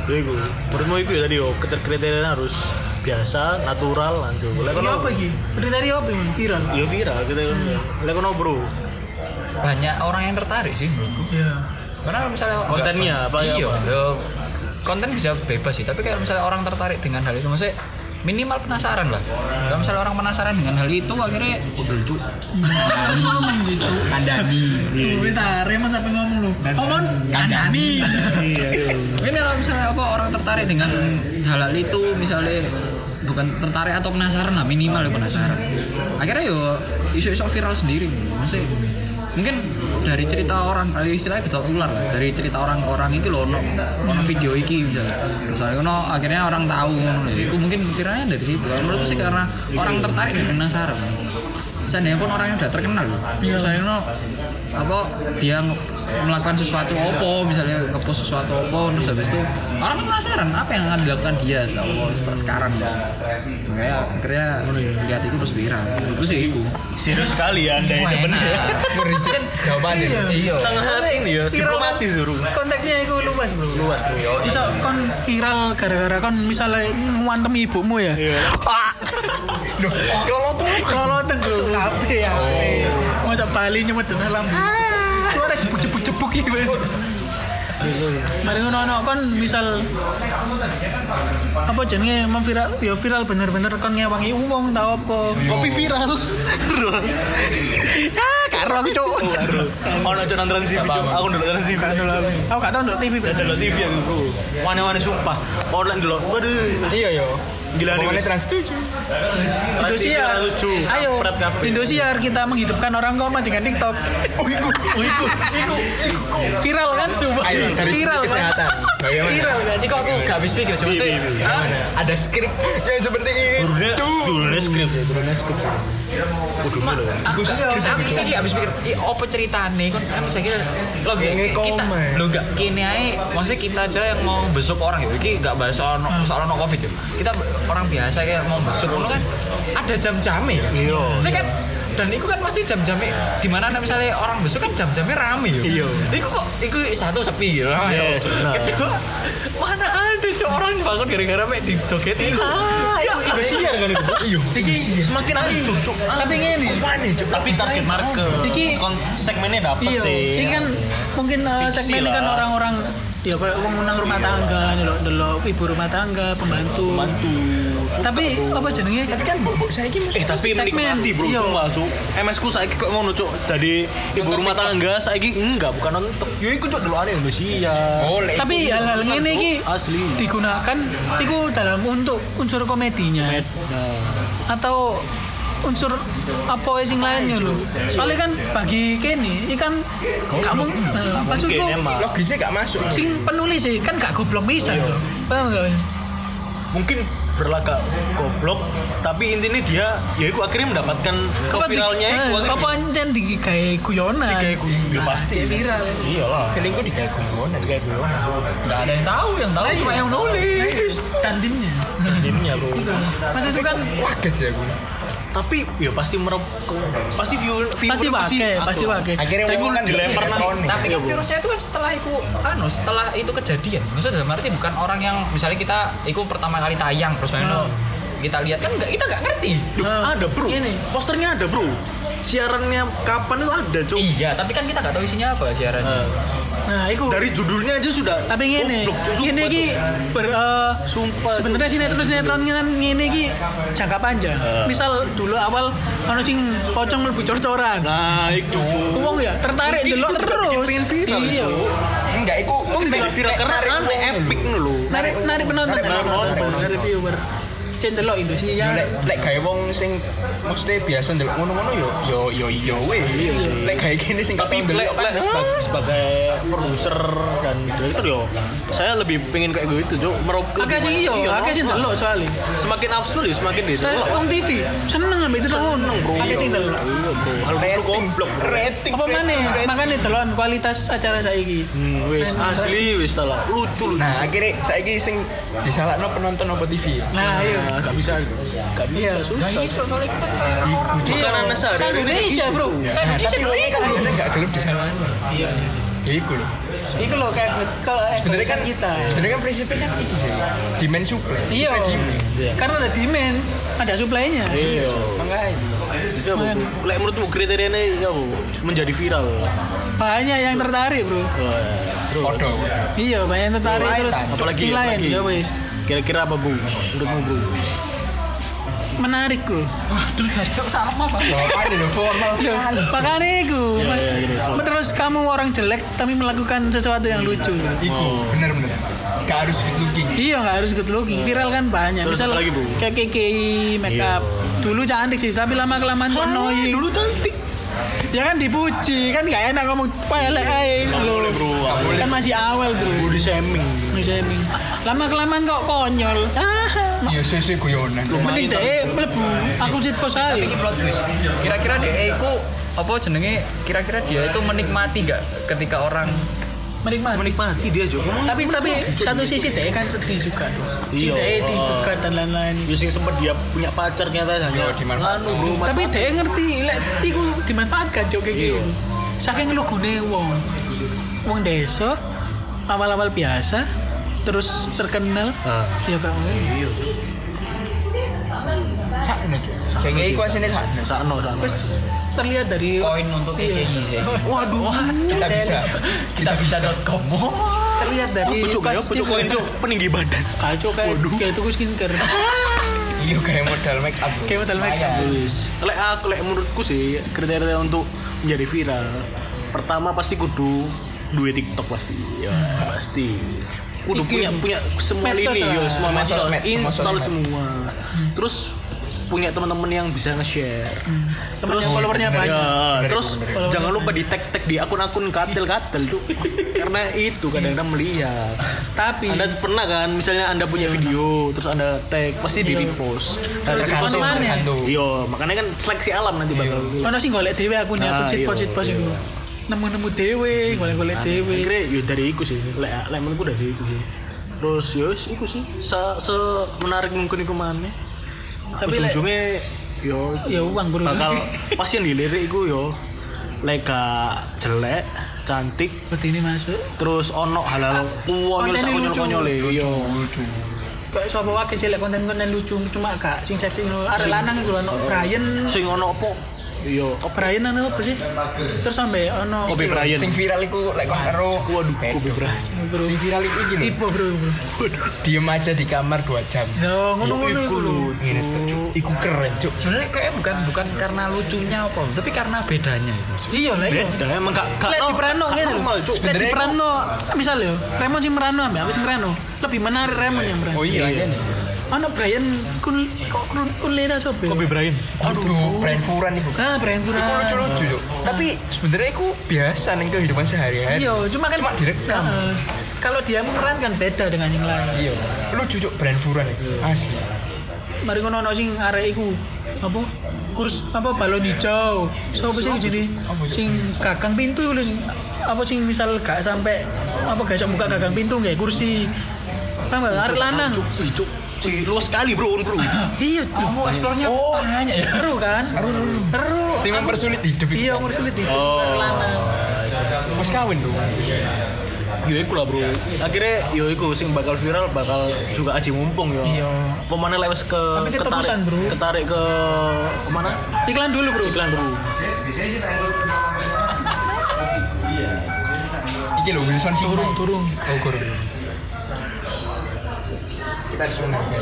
B: Jadi gue, Iya, menurutmu itu ya tadi yo, kriter- kriterianya harus biasa, natural, lanjut. Iya, Lek
C: Ini
B: kono
C: Iya, apa iki? Kriteria apa ini? Viral.
B: yo viral kita kan. Lek kono bro,
D: banyak orang yang tertarik sih menurutku.
C: Iya.
D: karena misalnya
B: Kontennya
D: nggak-
B: apa ya,
D: iya
B: apa?
D: ya, konten bisa bebas sih tapi kalau misalnya orang tertarik dengan hal itu maksudnya minimal penasaran lah kalau misalnya orang penasaran dengan hal itu akhirnya
C: Harus ngomong gitu. Kandani. Bentar, ah, Raymond sampai ngomong lu. Omon Kandani.
D: mungkin kalau misalnya apa orang tertarik dengan hal-hal itu misalnya bukan tertarik atau penasaran lah minimal ya penasaran akhirnya yo isu-isu viral sendiri maksudnya mungkin dari cerita orang eh, istilahnya betul ular lah dari cerita orang ke orang itu loh ono ono Nah, video iki misalnya misalnya ono akhirnya orang tahu ngono lho. itu mungkin viralnya dari situ Kalau menurutku sih karena orang tertarik dan penasaran seandainya pun orangnya udah terkenal loh misalnya ono apa dia nge- melakukan sesuatu opo misalnya ngepost sesuatu opo terus habis itu orang kan penasaran apa yang akan dilakukan dia setelah setelah sekarang makanya akhirnya lihat itu terus viral terus ya itu
B: serius sekali ya anda itu benar ya.
D: kan jawaban iya
B: Sangat ini ya,
C: Viral.
B: diplomatis bro.
C: Konteksnya itu luas, Bro.
B: Luas bro. ya.
C: Bisa kon viral gara-gara kon misalnya nguantem ibumu ya.
B: Iya.
C: Ah. Kelolotan
B: Oh.
C: bro, kabeh ya. Masa Bali nyemut dengan lambu. Suara jebuk-jebuk-jebuk iki.
B: Oh.
C: Bro. Mari ngono ono kon misal apa jenenge memviral ya viral bener-bener kon ngewangi wong tau apa. Kopi viral. Bro. Ah, karo aku cuk.
B: Oh, no, jangan nonton TV, Cuk. aku nonton TV.
C: Aku gak tau nduk TV. Bro.
B: Gak nonton TV aku bro. Wane-wane sumpah, online dulu. Waduh,
E: Iya yo.
B: gila nih.
E: Pokoknya
B: wis.
E: trans tujuh.
B: Pasti
C: Indosiar.
B: lucu. Iya,
C: Ayo,
B: Kampret, kampret.
C: Indosiar kita menghidupkan orang koma dengan TikTok. Viral kan?
E: Ayo dari sisi
C: Viral kan?
E: kesehatan. Bagaimana?
C: Viral kan?
D: ini kok aku gak habis pikir sih
B: iya,
D: maksudnya ah,
E: Ada skrip yang Ya, seperti ini.
B: Turunnya, turunnya skrip sih, turunnya skrip sih. Kudu dulu ya.
D: aku aku bisa habis pikir i apa ceritane kan kan saya kira lo gak- kita lo gak kini aja maksudnya kita aja yang mau besok orang ya iki gak bahas soal no, soal no covid ya kita orang biasa kayak mau besok lo kan ada jam-jamnya kan
B: Iya.
D: saya kan dan itu kan masih jam-jamnya di mana ada misalnya orang besok kan jam-jamnya rame ya
B: Iya.
D: itu kok itu satu sepi ya
B: Iya, benar.
D: kedua mana ada cowok orang bangun gara-gara mek di joget itu ya
B: Indosiar kan itu. Iya.
C: Iki semakin hari. Tapi ngene.
B: Tapi target market.
C: Iki-
B: kon segmennya dapat
C: Iya.
B: sih.
C: Iki kan mungkin uh,
B: Fiksi
C: segmen ini kan
B: lah.
C: orang-orang ya kayak wong menang rumah tangga, delok delok ibu rumah tangga, pembantu.
B: Bantu.
C: Tapi apa jenenge? Tapi kan bobok saya iki
B: Eh tapi menikmati bro,
C: Iya.
B: sumpah cuk MS ku saiki kok ngono cuk Jadi ibu rumah tangga saiki enggak bukan Oh, nonton Yo iku cuk dulu aneh Indonesia
C: Tapi hal-hal ngene iki
B: Asli
C: digunakan itu dalam untuk unsur komedinya.
B: nah.
C: atau unsur apa wae sing lainnya lho. Soalnya kan bagi kene ikan kamu nah, maksudku
B: Mungkin Hmm, emang Iya.
E: Logisnya gak masuk.
C: sing penulis sih kan gak goblok pisan lho. Paham gak?
B: Mungkin berlagak goblok Tapi intinya dia Ya iku akhirnya mendapatkan
C: Apa di-
B: keviralnya iku
C: eh, apa ancen digawe guyonan?
B: Kayak gue ya pasti
C: Dia viral.
B: Iyalah
E: Feelingku di kayak guyonan.
B: Kayak gue
D: gak ada yang tahu yang tahu cuma yang nulis
C: Dan timnya.
B: Gamenya bro
C: Maksudku kan
E: Kaget sih aku.
B: Tapi ya pasti merep Pasti view view
C: pasti pakai, pasti pakai.
E: Akhirnya
B: Tapi
E: wong
B: gue
E: kan dilempar
B: dilempar nang
E: Sony.
D: tapi kan virusnya itu kan setelah itu anu setelah itu kejadian maksudnya dalam arti bukan orang yang misalnya kita itu pertama kali tayang terus main kita lihat kan nggak kita nggak ngerti
B: Duh,
C: Nah,
B: ada bro
C: ini.
B: Posternya ada bro Siarannya kapan itu ada cuk
D: iya tapi kan kita nggak tahu isinya apa siarannya
C: Nah, iku
B: dari judulnya aja sudah
C: tapi ngene
B: goblok, Cuk, sumpah,
C: ngene iki
B: Cuk.
C: ber eh,
B: Sumpah,
C: sebenarnya sinetron sinetron kan ngene iki jangka panjang misal dulu awal ono sing pocong mlebu cor-coran
B: nah itu
C: wong ya tertarik
B: Mungkin
C: delok
B: itu juga bikin
C: terus
B: pengen viral, kan, gitu.
C: iya
B: Cuk.
E: Enggak, aku
B: Jadi viral karena kan epic nih lo
C: narik narik penonton
B: Narik
C: narik
B: penonton.
C: penonton narik viewer cendelo Indonesia
E: Lek lek gawe wong sing mesti biasa ndelok ngono-ngono yo yo yo yo wis. Lek gawe kene sing
B: Iya, tapi
E: tapi
B: Black
E: ndelok kan
B: Black seba- sebagai produser dan director yo saya lebih pengen kayak gitu, gue itu cok merokok
C: akeh sing iya akeh sing delok soalnya
B: semakin absurd ya semakin dia
C: Saya
B: delok.
C: wong TV seneng ambek itu seneng
B: bro
C: akeh sing delok
B: Iya, bro. hal goblok goblok bro.
E: rating
C: apa
E: rating,
C: maneh
E: rating.
C: makane delokan kualitas acara saiki
B: Hmm, wis
C: Nah,
B: asli wis telah lucu lucu
E: Nah, akhirnya saiki sing disalakno penonton apa TV.
C: nah iya
B: Nah, gak bisa gak bisa susah
D: soalnya kita selera orang
B: makanan gitu. sehari
C: Iya. Indonesia bro
D: saya
E: Nah,
D: Indonesia
E: tapi wong
D: dulu
E: iki
D: kan
E: kan enggak gelem disalakno.
B: Iya.
E: ya iku loh
C: Iku loh kayak ke
E: sebenarnya kan
C: evolusi kita.
E: sebenarnya kan prinsipnya kan itu sih demand supply
C: Iya.
E: Supply demand.
C: Karena ada demand, ada supply-nya.
B: Iya.
E: makanya
B: Iya, Bu. Lek menurutmu kriterianya iya, Bu, menjadi viral.
C: Banyak yang tertarik, Bro.
B: Wah, terus.
E: podo
C: Iya, banyak yang tertarik
B: Lain,
C: terus
B: Tan. apalagi
C: sing lain
B: apalagi.
C: ya wis.
B: Kira-kira apa, Bu? Menurutmu, Bu?
C: Menarik, Bro.
D: Aduh, cocok sama Pak.
E: Apaan ini formal
C: Loh, Makanya itu. Terus kamu orang jelek tapi melakukan sesuatu yang lucu.
E: iku
B: Oh.
E: bener-bener gak harus good looking
C: Iya nggak harus good looking. Viral kan banyak.
B: Terus
C: Misal
B: apa lagi, Bu?
C: kayak KKI makeup. Dulu cantik sih, tapi lama kelamaan kok annoying. Dulu cantik. Ya kan dipuji, kan nggak enak ngomong pelek ae
B: Boleh, Bro.
C: Kan masih awal, Bro.
B: Body shaming.
C: Misalnya, Lama kelamaan kok konyol. Ah,
E: iya sih guyonan
C: Mending deh, mlebu. Aku sit pos ae.
D: Ini plot twist. Kira-kira dia itu apa jenenge? Kira-kira dia itu menikmati nggak ketika orang
C: Menikmati.
B: Menikmati dia, Jo.
C: tapi tapi satu sisi deh kan sedih juga
B: Iya.
C: cinta digugat dan lain-lain
B: Ya sing sempet dia punya pacar ternyata hanya
E: dimanfaatkan.
B: anu, Bro, Mas.
C: tapi dia ngerti lek iku dimanfaatkan cok kayak
B: Iya.
C: gitu saking lu wong wong desa awal-awal biasa terus terkenal
B: Ah. Iya,
C: ya kak
E: sakno tuh jenenge iku aslinya sakno
B: sakno sakno.
C: terus terlihat dari Iya.
D: koin untuk KKI sih.
C: waduh
E: kita
C: Del.
E: bisa
D: Kita bisa.com.
C: terlihat dari
B: Pucuk ya, pucuk koin, Jo. Peninggi badan.
C: kacau kayak kayak tuku skincare
E: iya kayak modal make up bro.
C: kayak modal makeup
E: Iya.
B: Wis. Lek aku lek menurutku sih kriteria untuk menjadi viral pertama pasti kudu duwe TikTok pasti. Ya, pasti. Kudu
C: Iki.
B: punya punya semua
C: Medsos
B: lini
C: lah.
B: yo, semua
E: Semua
B: medsos,
E: sosmed, semua
B: install
E: sosmed.
B: semua. Terus punya teman-teman yang bisa nge-share.
C: Temennya followernya
B: Ya,
C: banyak
B: terus jangan lupa di tag-tag di akun-akun katel-katel tuh. Karena itu kadang-kadang melihat.
C: tapi
B: Anda pernah kan misalnya Anda punya video terus Anda tag pasti di repost.
C: Terus
E: tergantung
C: mana?
E: tergantung
B: Yo, makanya kan seleksi alam
C: Iya.
B: nanti bakal.
C: Ono sing golek dhewe aku nih aku
B: Ah,
C: cheat
B: iya,
C: post cheat post
B: iya.
C: iku. Nemu-nemu dhewe, golek-golek dhewe.
B: Akhirnya yo dari iku sih, lek lek menurutku dari iku sih. Terus yo wis iku sih, se, se menarik mungkin iku maneh.
C: Tapi
B: Tapi
C: lek-
B: ujungnya yo
C: Ya uang bro.
B: bakal pasti yang dilirik iku yo lek gak jelek, cantik,
C: seperti ini masuk.
B: terus ono halal uang
C: kontennya
B: sak konyol
C: lucu.
B: konyol yo.
E: lucu
C: Kayak sapa wae sih lek konten-konten lucu cuma gak sing seksi ngono. Arek lanang iku lho, ono Brian.
B: Sing ono opo? Yo,
C: Oh Brian ono apa sih? Terus sampe ono
B: Kobe Bryant.
E: sing viral iku lek kon karo
B: waduh, Kobe Bryant.
C: bro.
E: sing viral iku iki lho
C: Tipe bro. bro.
E: diem aja di kamar 2 jam
C: Yo Nah, ngono-ngono
B: Iku
C: iku lho.
B: lucu.
E: Ngene tuh, Cuk. iku keren cuk
D: Sebenarnya kayak bukan bukan karena lucunya apa, tapi karena bedanya itu.
C: Iya lah iya.
B: Beda emang gak gak
C: Lek ya. di Prano
B: gak
C: ngene.
B: normal, Cuk.
C: Lek
E: Sebenarnya
C: di
E: iku-
C: Prano misal yo, Raymond sing Prano ambek aku sing Prano. Lebih menarik Raymond yang Prano.
E: iya
C: Ono Brian kun kok kun kulera sobe.
B: Kobe Bryant.
E: aduh brand furan iku
C: Ah Brian Furan.
E: Iku lucu-lucu Cuk. tapi sebenarnya iku biasa nih kehidupan sehari-hari
C: Iya, cuma kan
E: Cuma direkam.
C: Nah, kalau dia memeran kan beda dengan yang lain.
E: iya lucu cuk brand furan iku asli
C: Mari ngono ono sing arek iku apa kurs apa balon hijau. Sopo sih jadi sing gagang pintu lho sing apa sing misal gak sampai apa gak iso buka gagang pintu nggak kursi. Paham gak arek lanang.
B: Cuk, ih, Cuk. Cuk, Luas sekali, Bro, Bro.
C: Iya, Oh.
D: Kamu eksplornya banyak ya.
C: seru kan? Seru.
E: sing mempersulit hidup iku
C: Iya, umur sulit itu. Arek lanang.
E: pas kawin tuh
B: Yo iku lah bro. Akhirnya yo iku sing bakal viral bakal juga aji mumpung yo.
C: Iya.
B: Pemana lewes ke
C: Tapi keterusan, bro.
B: ketarik ke kemana?
C: Iklan dulu, Bro.
B: Iklan dulu.
E: iki lho Wilson sing turun
C: Turun.
E: oh turun kita disuruh nangkep.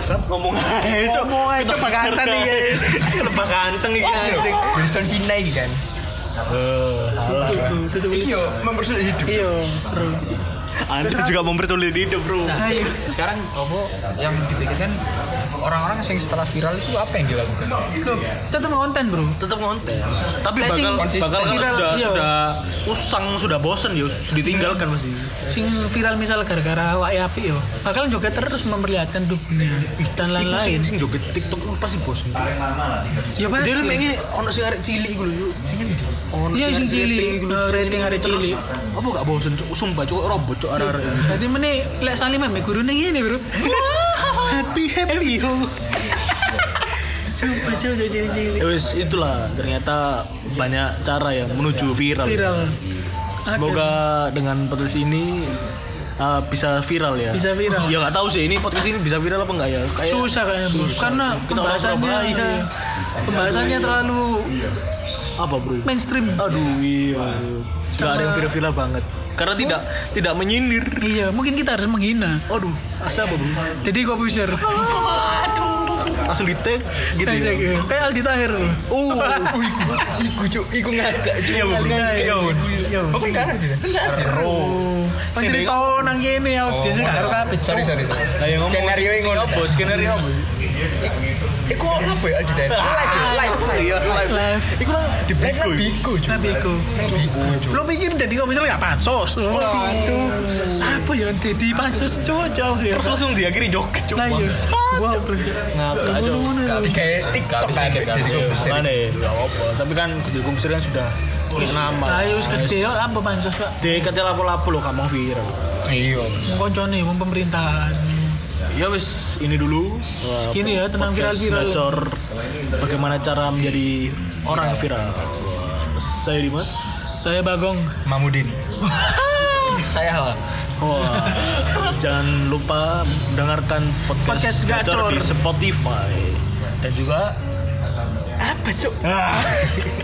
B: Sap ngomong aja. Cok.
C: Ngomong aja, Cok, bakanteng
B: Ketarik. Lebah kanteng iki anjing.
E: Wilson Sinai kan iya mempersulit hidup
C: Iya, Bro.
B: Anda juga mempersulit hidup bro.
D: Nah, se- sekarang apa yang dipikirkan orang-orang yang setelah viral itu apa yang dilakukan?
C: Loh, tetap konten, Bro.
B: Tetap ngonten. Tapi
C: Lah, sing
B: bakal
E: konsisten.
B: bakal kalau
C: Viral,
B: sudah
C: iya.
B: sudah usang sudah bosen yo ditinggalkan pasti.
C: sing viral misal gara-gara wae api yo bakalan joget terus memperlihatkan tubuhnya
B: Iku sing
C: dan lain-lain
B: sing joget TikTok itu pasti bosen. Cok.
C: ya pasti
B: Dia lu pengen Iya, ono sing arek cilik iku lho. Sing endi? Ono
C: Iya, sing
B: arek
C: cilik.
B: rating iku lho.
C: Eh, rating arek
B: Terus,
C: cilik.
B: Apa gak bosen cuk? Sumpah cuk robot cuk arek-arek.
C: jadi mene lek salim mek guru ning ngene bro happy happy ho coba coba cilik-cilik
B: Ya wis itulah ternyata banyak cara ya menuju viral.
C: viral
B: Semoga dengan podcast ini uh, bisa viral ya.
C: Bisa viral.
B: Ya nggak tahu sih ini podcast ini bisa viral apa enggak ya. Kayak
C: susah kayaknya bro
B: Susah.
C: karena
B: Kita orang
C: pembahasannya
B: Surabaya.
C: iya. pembahasannya terlalu
B: apa bro?
C: mainstream
B: Aduh iya. Gak ada yang viral-viral banget. Karena tidak tidak menyindir.
C: iya mungkin kita harus menghina
B: Aduh, asa apa bro?
C: jadi kopuser
B: Langsung di tag gitu ya.
C: kayak Aldi Tahir bro
E: Oh, iku, iku cuk, iku ngagak cuk. Iya,
C: Iya,
E: Aku kangen tidak.
C: Kan jadi tau nang kene
E: Oh.
C: ya biasa gak karo kabeh.
E: Sorry, sorry, sorry.
B: Kayak ngomong
E: Skenario
B: sing-
E: yang
B: sing
E: ngono.
B: apa? Skenario apa?
E: Iku apa ya Aldi Dive? Live, ya, live, live.
C: Live
E: Iku lah di live nang biku cuk.
C: tapi iku.
E: Nang biku cuk.
C: Lo pikir jadi kopuser gak pansos. Oh, Waduh. Apa ya jadi pansos cowok jauh ya.
B: Terus langsung diakhiri joget coba.
C: Nah, iya. Wow,
B: Ngakak aja.
E: Kayak TikTok kan jadi komposer.
B: Mana ya? Gak apa. Tapi kan Gede Kumsir kan sudah tulis nama.
C: Ayo iya, wis gede ya. kok apa pansos Pak?
B: Dekat lapo-lapo lo kamu viral.
E: Iya.
C: Wong koncone wong pemerintahan.
B: Ya wis ini dulu.
C: Segini ya tenang
B: Podcast
C: viral-viral.
B: Gacor. bagaimana cara menjadi orang viral. Saya Dimas.
C: Saya Bagong.
E: Mamudin. Saya Hal.
B: Wah, jangan lupa dengarkan
C: Podcast
B: podcast,
C: Gacor.
B: gacor, di Spotify dan juga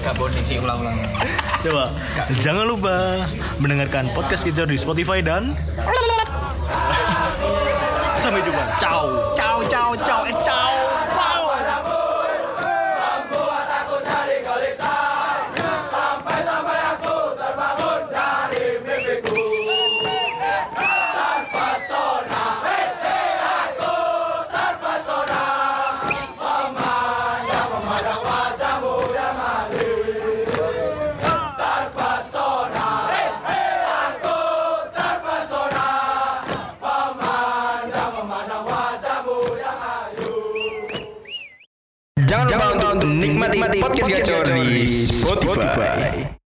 E: Gak boning sih ulang-ulang.
B: coba jangan lupa mendengarkan podcast gacor di Spotify dan sampai jumpa. Ciao.
C: Ciao ciao ciao eh ciao. Wow.
E: Jangan lupa untuk nikmati podcast gacor di Spotify.